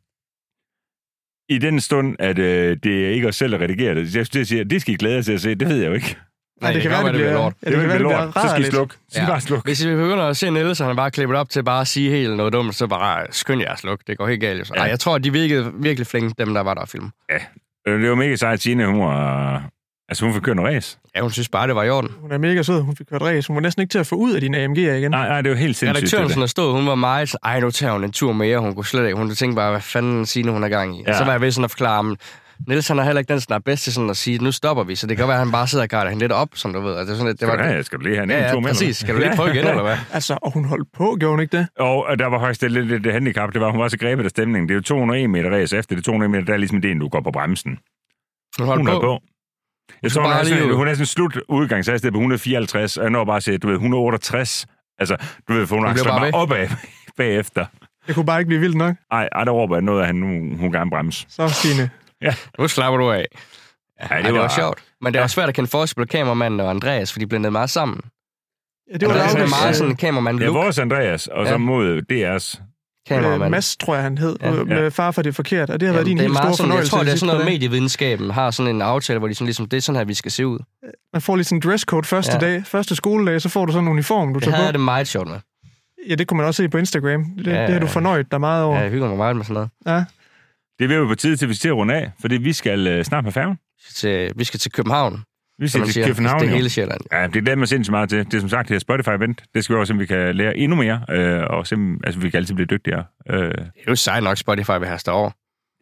A: i den stund, at øh, det er ikke os selv, der redigerer det, jeg, jeg siger, det skal I glæde jer til at se, det ved jeg jo ikke.
B: Nej, det, kan være,
C: godt
B: det bliver,
C: lort.
B: Ja, det kan være, det bliver
A: så skal I
B: rart.
A: slukke. Så skal I
C: Ja.
A: bare slukke.
C: Hvis I begynder at se Niels, og han bare klipper op til bare at sige helt noget dumt, så bare øh, skynd jer at slukke. Det går helt galt. Jo.
A: Ja.
C: Ja. jeg tror, de virkede virkelig flinke, dem der var der og film.
A: Øh, Det var mega sejt, Signe, hun var... Altså, hun fik kørt en race.
C: Ja, hun synes bare, det var i orden.
B: Hun er mega sød. Hun fik kørt ræs. Hun var næsten ikke til at få ud af dine AMG'er igen.
A: Nej, nej, det var helt sindssygt.
C: Redaktøren,
A: det
C: sådan
A: der.
C: der stod, hun var meget, sådan, ej, nu tager hun en tur mere, hun kunne slet ikke. Hun tænkte bare, hvad fanden Signe, hun er gang i.
A: Ja.
C: Ja. Så var jeg ved sådan at forklare, men Niels han er heller ikke den, der er bedst til sådan at sige, nu stopper vi, så det kan være, at han bare sidder og guider hende lidt op, som du ved. Altså, det er sådan, lidt- det var,
A: Skal du have- skal du lige have en
C: ja,
A: en tur
C: ja,
A: med?
C: præcis. Skal du lige prøve igen, eller hvad?
B: Altså, og hun holdt på, gjorde hun ikke det?
A: Og og der var faktisk lidt, lidt det handicap, det var, at hun var så grebet af stemningen. Det er jo 201 meter race efter det 201 meter, der er ligesom det, du går på bremsen.
C: Hun holdt
A: Hun er
C: på.
A: på. Jeg tror, hun
C: bare
A: er, sådan,
C: lige ud.
A: hun er sådan slut udgangshastighed på 154, og jeg når bare at sige, du ved, 168. Altså, du ved, for hun,
C: Hun
A: hun
C: bliver
A: bare,
C: bare
A: bare opad bagefter.
B: Det kunne bare ikke blive vildt nok.
A: Ej, ej, der råber jeg noget af, at hun, hun gerne bremse.
B: Så, Signe.
C: Nu slapper du af.
A: Ja,
C: Ej, det var sjovt. Men det var svært at kende forskel på kameramanden og Andreas, for de blandede meget sammen.
B: Ja, det
C: Det
B: var
C: var
A: Andreas er
C: sådan
B: Lauges,
C: meget
B: øh,
C: sådan kameramand
A: Det er
C: look
A: vores Andreas, og så
C: Ja.
A: mod DR's.
B: øh,
C: kameramand.
B: Mads, tror jeg, han hed,
C: Ja.
B: ja. med far for det forkert, og det har været din
C: det er
B: helt store
C: meget sådan, jeg
B: fornøjelse.
C: tror,
B: de
C: det er
B: sidste
C: sådan noget,
B: par dage.
C: medievidenskaben har sådan en aftale, hvor de sådan ligesom, det er sådan her, vi skal se ud.
B: Man får lige sådan en dresscode første
C: Ja.
B: dag. Første skoledag, så får du sådan en uniform, du
C: Det havde
B: tager
C: jeg
B: på.
C: det meget sjovt med.
B: Ja, det kunne man også se på Instagram. Det,
C: Ja,
B: det har du
C: ja.
B: fornøjet dig meget over.
C: Ja, jeg hygger mig meget med sådan noget.
B: Ja.
A: Det er vi jo på tide til, at vi skal til at runde af, fordi vi skal øh, snart på færgen.
C: Vi skal til, vi skal til København,
A: Vi
C: som
A: skal
C: man
A: til
C: siger.
A: København.
C: det er
A: jo.
C: hele Sjælland.
A: Ja, det glæder jeg mig sindssygt meget til. Det er som sagt, det her Spotify-event. Det skal vi også, at vi kan lære endnu mere, øh, og sim, altså, vi kan altid blive dygtigere. Øh,
C: Det er jo sejt nok, Spotify vil have os derovre.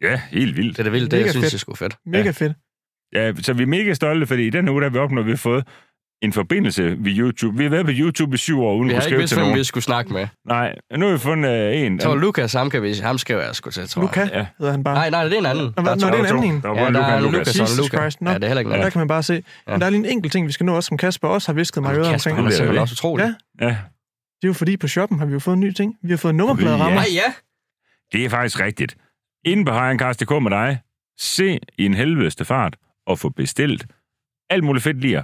A: ja, helt vildt.
C: Det er det vildt, det
B: Mega
C: jeg synes,
B: fedt.
C: det er sgu fedt.
B: Mega fedt.
A: Ja, så vi er mega stolte, fordi i den her uge, der har vi opnået, at vi har fået en forbindelse ved YouTube. Vi har været på YouTube i syv år, uden
C: Vi
A: at
C: har
A: kunne
C: ikke
A: skrive
C: vidst,
A: til
C: hvem vi
A: nogen.
C: skulle snakke med.
A: Nej, nu har vi fundet øh, en.
C: Jeg tror, Lukas, ham, kan vi, ham skriver jeg sgu til, tror
B: Luca
C: jeg.
A: Ja.
B: hedder han bare.
C: Nej, nej, det er en anden.
B: Nå, hvad-
C: Der
B: nå,
C: er
B: det er
C: to.
B: en anden en.
A: Der var
C: Ja,
A: både
C: der
A: Luca
C: er
A: og
C: en
A: Lukas.
C: Lukas og en
B: Jesus
C: Luca.
B: Christ, nå.
C: Ja, det er heller ikke en
B: Der
C: anden.
B: kan man bare se.
C: Ja.
B: Men der er lige en enkelt ting, vi skal nå også, som Kasper også har visket mig i øret
C: Kasper,
B: omkring.
C: han er
A: Det er
C: sikkert
A: det.
C: også utrolig.
B: Ja.
A: Ja,
B: Det er jo fordi, på shoppen har vi jo fået en ny ting. Vi har fået
A: Ja.
B: nummerpladerammer.
C: Nej, ja.
A: det er faktisk rigtigt. Inden på Hajankast.dk med dig, se i en helvedeste fart og få bestilt alt muligt fedt lir.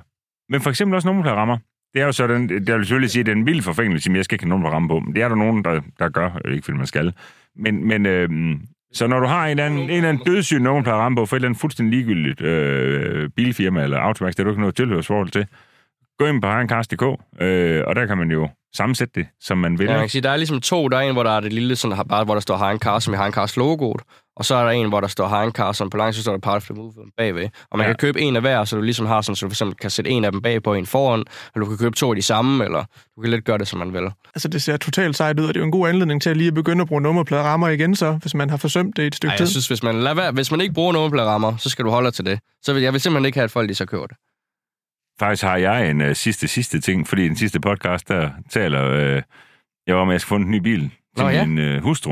A: Men for eksempel også nummerpladerammer. Det er jo sådan, det vil selvfølgelig sige, at det er en vild forfængelse, men jeg skal ikke have nummerpladerramme på. Men det er der nogen, der, der gør, øh, ikke fordi man skal. Men, men øhm, så når du har en eller anden, en eller anden dødssyg nummerpladerramme på for et eller andet fuldstændig ligegyldigt øh, bilfirma eller automærke, det har du ikke noget tilhørsforhold til, gå ind på Hajankast.dk, øh, og der kan man jo sammensætte det, som man vil.
C: Ja, man kan sige, der er ligesom to. Der er en, hvor der er det lille, sådan, har- bare, hvor der står Hagen Car, som i Hagen Cars logoet. Og så er der en, hvor der står Hagen Car, som på langt så står der Part of the Movement bagved. Og man
A: Ja.
C: ja. kan købe en af hver, så du ligesom har sådan, så du for eksempel kan sætte en af dem bagpå og en foran, eller du kan købe to af de samme, eller du kan lidt gøre det, som man vil.
B: Altså, det ser totalt sejt ud, og det er jo en god anledning til at lige at begynde at bruge nummerpladerammer igen, så, hvis man har forsømt det i et stykke
C: Ej,
B: tid.
C: jeg synes, hvis man, lad være, hvis man ikke bruger nummerpladerammer, så skal du holde dig til det. Så vil, jeg vil simpelthen ikke have, at folk lige så køber det.
A: Faktisk har jeg en uh, sidste, sidste ting, fordi i den sidste podcast, der taler uh, jeg om, at jeg skal få en ny bil til
C: Nå, ja.
A: min uh, hustru.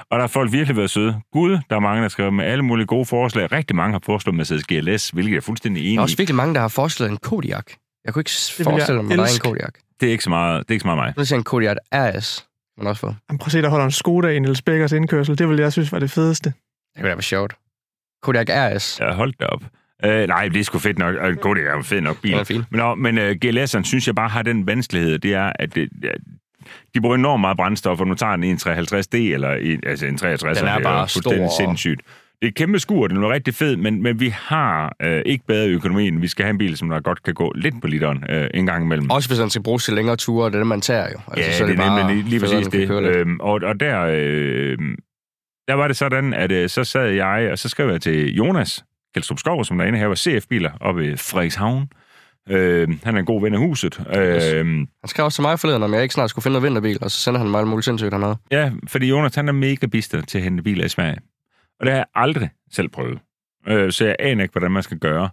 A: Og der har folk virkelig været søde. Gud, der er mange, der skriver med alle mulige gode forslag. Rigtig mange har foreslået Mercedes GLS, hvilket jeg er fuldstændig enig
C: Der
A: i.
C: er også virkelig mange, der har foreslået en Kodiak. Jeg kunne ikke
B: jeg
C: forestille mig, at der er en
B: elske.
C: Kodiak.
A: Det er ikke så meget, det er ikke så meget mig.
C: Nu siger jeg en Kodiak RS. Man også få.
B: Jamen, prøv at se, der holder en Skoda i Niels Bækkers indkørsel. Det ville jeg synes var det fedeste.
C: Det kunne da være sjovt. Kodiak RS.
A: Ja, hold da op. Uh, nej, det er sgu fedt nok. Uh, God, det er jo en fed nok bil.
C: Den er fin.
A: Men, nå, men uh, GLS'eren synes jeg bare har den vanskelighed, det er, at det, ja, de bruger enormt meget brændstof, og nu tager den en 53D, eller en, altså en 63,
C: Den er
A: det jo
C: bare
A: fuldstændig
C: stor.
A: sindssygt. Det er et kæmpe skur, den er rigtig fed, men, men vi har øh, ikke bedre økonomi, end vi skal have en bil, som der godt kan gå lidt på literen øh, en gang imellem.
C: Også hvis man skal bruges til længere ture, og det er det, man tager jo.
A: Ja, altså, det, det er nemlig lige, lige
C: federe,
A: præcis
C: at man kan
A: det.
C: køre lidt.
A: Øhm, og, og der, øh, der var det sådan, at øh, så sad jeg, og så skrev jeg til Jonas Kjeldstrup Skov, som der inde her var CF-biler oppe i Frederikshavn. Øh, han er en god ven af huset. Øh,
C: Han skrev også til mig forleden, om jeg ikke snart skulle finde noget vinterbil, og så sender han mig alt muligt sindssygt hernede.
A: ja, fordi Jonas han er mega bister til at hente biler i Sverige. Og det har jeg aldrig selv prøvet. Øh, så jeg aner ikke, hvordan man skal gøre.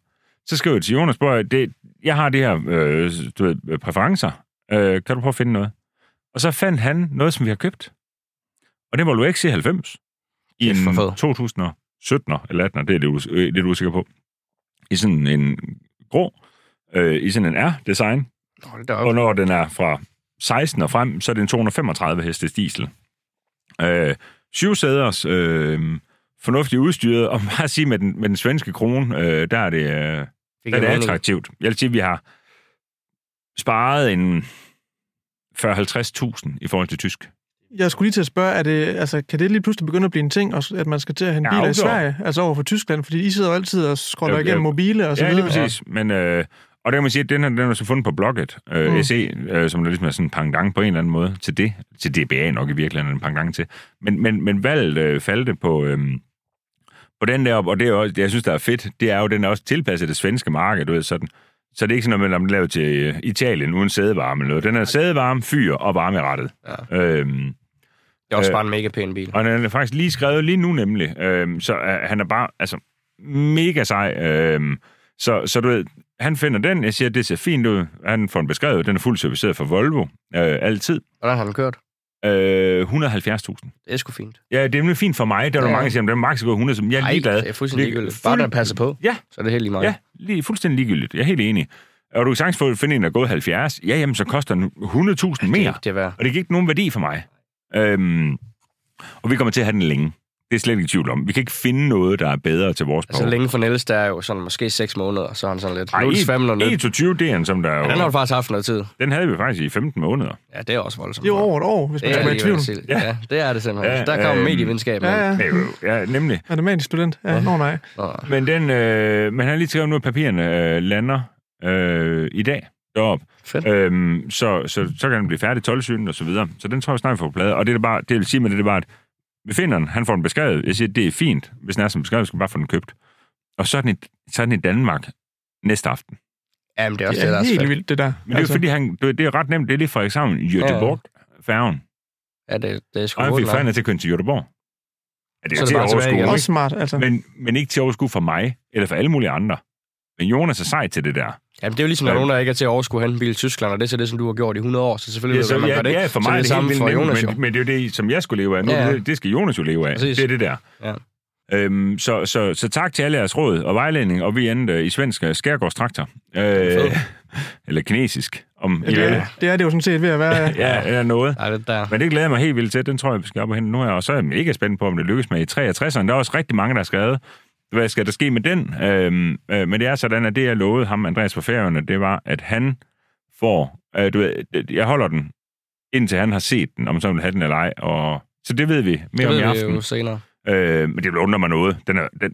A: Så skrev jeg til Jonas, "Prøv at- det, jeg har de her øh, du ved, øh, præferencer. Øh, kan du prøve at finde noget? Og så fandt han noget, som vi har købt. Og det var Volvo XC90. I
C: Kæft, hvor
A: en
C: fed.
A: 2017 eller 18, det er det us- øh, lidt usikker på. I sådan en grå, øh, i sådan en R-design.
C: Nå, det er
A: Og
C: deroppe.
A: når den er fra 16 og frem, så er det en 235 hestes diesel. Øh, syv sæders, øh, fornuftigt udstyret, og bare at sige, med den, med den svenske krone, øh, der er det, øh, der er det attraktivt. Jeg vil sige, at vi har sparet en 40-50.000 i forhold til tysk.
B: Jeg skulle lige til at spørge, er det, altså, kan det lige pludselig begynde at blive en ting, og s- at man skal til at hente
A: Ja,
B: biler i
A: outdoor.
B: Sverige, altså over for Tyskland, fordi I sidder jo altid og scroller
A: Ja, ja.
B: igennem mobile og så
A: Ja, lige
B: videre.
A: præcis. Ja. Men, øh, og der kan man sige, at den her, den er så fundet på Blocket, øh,
B: Mm.
A: mm. SE, øh, som der ligesom er sådan en pangdang på en eller anden måde til det. Til DBA nok i virkeligheden er en pangdang til. Men, men, men valget øh, faldt det på, øh, på den der, og det er også, det, jeg synes, der er fedt, det er jo, den er også tilpasset det svenske marked, du ved, sådan. Så det er ikke sådan noget, med, at den er lavet til øh, Italien uden sædevarme eller noget. Den er sædevarme, fyr og varmerettet. Ja. Øhm,
C: Det er også
A: Øh.
C: bare en mega pæn bil.
A: og han er faktisk lige skrevet lige nu nemlig. Øhm, så øh, han er bare altså, mega sej. Øhm, så, så du ved, han finder den. Jeg siger, det ser fint ud. Han får den beskrevet. Den er fuldt serviceret for Volvo. Øh, altid.
C: Hvordan har den kørt?
A: Øh, 170.000.
C: Det er sgu fint.
A: Ja, det er nemlig fint for mig. Der er ja.
C: Ja.
A: mange, der siger, at den maks. er gået 100. som Jeg er
C: Ej,
A: ligeglad.
C: det er fuldstændig ligegyldigt. Bare
A: Fuld-
C: den passer på,
A: Ja,
C: så er det helt lige meget.
A: ja lige, fuldstændig ligegyldigt. Jeg er helt enig. Og du kan sagtens få- finde en, der er gået 70. Ja, jamen, så koster den 100.000 mere.
C: Det, det er værd.
A: Og det gik ikke nogen værdi for mig. Øhm, og vi kommer til at have den længe. Det er slet ikke i tvivl om. Vi kan ikke finde noget, der er bedre til vores
C: Altså længe for Niels, der er jo sådan måske 6 måneder, så er han sådan lidt. nu er det svæmmel og
A: behov.
C: nyt.
A: Ej, 21 DN, som der
C: Ja, den har
A: jo,
C: du faktisk haft noget tid.
A: den havde vi faktisk i 15 måneder.
C: Ja, det er også voldsomt.
B: Det er jo over et år, hvis
C: Det
B: man
C: er
B: skal være i tvivl.
C: alligevel sild. Ja. ja, det er det simpelthen.
A: Ja,
C: der kommer
A: øhm.
C: medievidenskab.
B: Ja, ja.
A: Det er jo- Ja, nemlig.
B: Matematisk student. Ja, nå nej.
C: Nå,
A: Men, den, øh, men han har lige skrevet nu, at papirerne øh, lander øh, i dag derop.
C: fedt.
A: Øhm, så, så, så kan den blive færdig 12 synen og så videre. Så den tror jeg snart, vi får på plade. Og det, er bare, det vil sige med det, det er bare, at vi finder den, han får den beskrevet. Jeg siger, det er fint. Hvis den er som beskrevet, skal vi bare få den købt. Og så er den i, så er den i Danmark næste aften.
C: Jamen, det er også
B: Det
C: det, der
B: er
C: er så
B: helt
C: fedt.
B: vildt, det der. Altså,
A: Men det er
C: Altså-
A: jo fordi, han, det, det er ret nemt. Det er lige Frederikshavn, Göteborg, færgen.
C: Ja, det, det er sgu
A: Og han fik
C: hurtigt. nok.
A: færgen til at køre til Göteborg. Ja, det
C: Så
A: er
C: er det
A: til at
C: bare tilbage igen.
A: overskue,
B: Også smart, altså.
A: ikke? Men, men ikke til at overskue for mig, eller for alle mulige andre. Men Jonas er sej til det der.
C: Jamen, det er jo ligesom, når nogen, der ikke er til at overskue at hente en bil i Tyskland, og det er så det, som du har gjort i 100 år, så selvfølgelig
A: Ja,
C: ved
A: så,
C: man, man
A: ja,
C: gør det.
A: ja, for mig
C: så det er det samme
A: helt
C: for
A: vildt nemt,
C: Jonas jo.
A: men, men det er jo det, som jeg skulle leve af. Nu,
C: Ja,
A: ja,
C: ja.
A: ja. Det skal Jonas jo leve af.
C: Præcis.
A: Det er det der.
C: Ja.
A: Øhm, så, så, så tak til alle jeres råd og vejledning, og vi endte øh, i svensk øh, skærgårdstraktor. Øh, eller kinesisk, om
B: Ja,
A: I
B: det,
A: vil.
B: er, det er det jo sådan set ved at være. ja.
A: Ja, eller noget.
C: Nej, det der.
A: Men det glæder jeg mig helt vildt til. Den tror jeg, vi skal op og hente nu her. Og så er jeg mega spændt på, om det lykkes med i 63'erne. Der er også rigtig mange, der har skrevet, hvad skal der ske med den? Øhm, øh, men det er sådan, at det, jeg lovede ham, Andreas på færgerne, det var, at han får... Øh, du ved, øh, jeg holder den, indtil han har set den, om så han vil have den eller ej. Og, så det ved vi mere
C: Det
A: om i
C: ved vi
A: aften.
C: jo senere.
A: Øh, men det vil undre mig noget. Den er, den,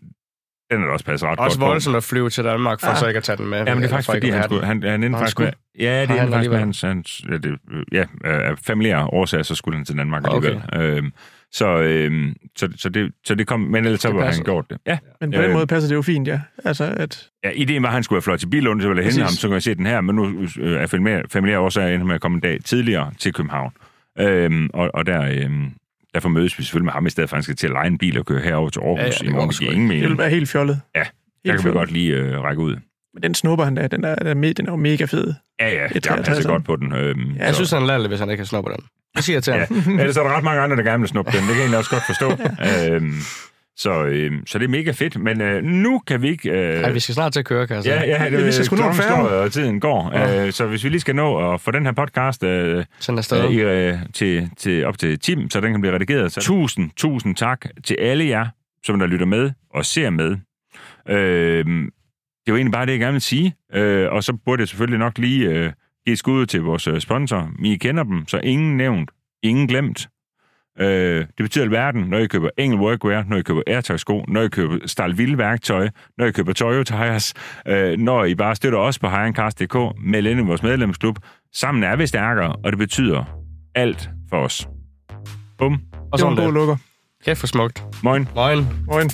A: den er da også passet ret
C: Også
A: godt på.
C: voldsomt at flyve til Danmark, for
B: Ja.
C: så ikke at tage den med.
A: Ja, men Ah. det er
C: Eller
A: faktisk,
C: for ikke
A: fordi
C: at
A: han,
C: have den.
A: skulle, han, han endte
C: han
A: faktisk
C: skulle?
A: med... Ja, det
C: han
A: er faktisk med
C: alligevel?
A: hans... hans ja, det, øh, ja, øh, af familiære årsager, så skulle han til Danmark
C: Okay.
A: alligevel. Øhm, så, øhm, så, så, det, så det kom... Men ellers så
C: Det
A: var han
C: passer.
A: gjort det. Ja.
B: Men på den
A: Øh.
B: måde passer det jo fint, ja. Altså, at,
A: ja, ideen var, at han skulle have fløjet til Bilund, så ville jeg hente
B: Præcis.
A: ham, så kunne jeg se den her, men nu øh, er familiære, familiære årsager endte med at komme en dag tidligere til København. Øhm, og, og der... Øhm, Derfor mødes vi selvfølgelig med ham, i stedet for at han skal til at lege en bil og køre herover til Aarhus
C: Ja,
A: ja,
C: ja,
A: ja,
C: det
A: i morgen.
C: går
A: Det
C: sgu
A: giver ingen
B: det
A: mening.
B: ville være helt fjollet.
A: Ja, Der
B: helt
A: kan vi
B: fjollet.
A: godt lige øh, række ud.
B: Men den snupper han der, den er, den er, me- den er jo mega fed.
A: Ja, ja,
B: Et
A: jeg passer
B: 63'er.
A: godt på den. Øhm,
C: Jeg
A: så-
C: synes, han er latterlig, hvis han ikke kan snoppe den. Det siger jeg til
A: Ja.
C: ham.
A: Ellers er der ret mange andre, der gerne vil snuppe den. Det kan jeg egentlig også godt forstå. øhm, så, øhm, så det er mega fedt. Men øh, nu kan vi ikke... Øh,
C: Ej, vi skal altså snart til at køre, kan jeg sige.
A: Ja, ja, det,
B: vi skal sgu nå en
A: klokken
B: færge.
A: står, og tiden går.
C: Ja.
A: Ja. Øh, så hvis vi lige skal nå at få den her podcast øh,
C: Sådan er
A: øh,
C: stadig.
A: i, øh, til, til, op til Tim, så den kan blive redigeret. Så tusind, tusind tak til alle jer, som der lytter med og ser med. Øh, det var egentlig bare det, jeg gerne vil sige. Øh, og så burde jeg selvfølgelig nok lige øh, give et skud til vores øh, sponsor. I kender dem, så ingen nævnt, ingen glemt. Øh, det betyder alverden, når I køber Engel Workwear, når I køber Airtag-sko, når I køber Stalville værktøj, når I køber Toyo Tires, øh, når I bare støtter os på hejrencast.dk, meld ind i vores medlemsklub. Sammen er vi stærkere, og det betyder alt for os. Bum.
C: Og
B: Det var en
C: sådan
B: god
C: der.
B: lukker.
C: Kæft for smukt.
A: Moin.
C: Moin.
B: Moin.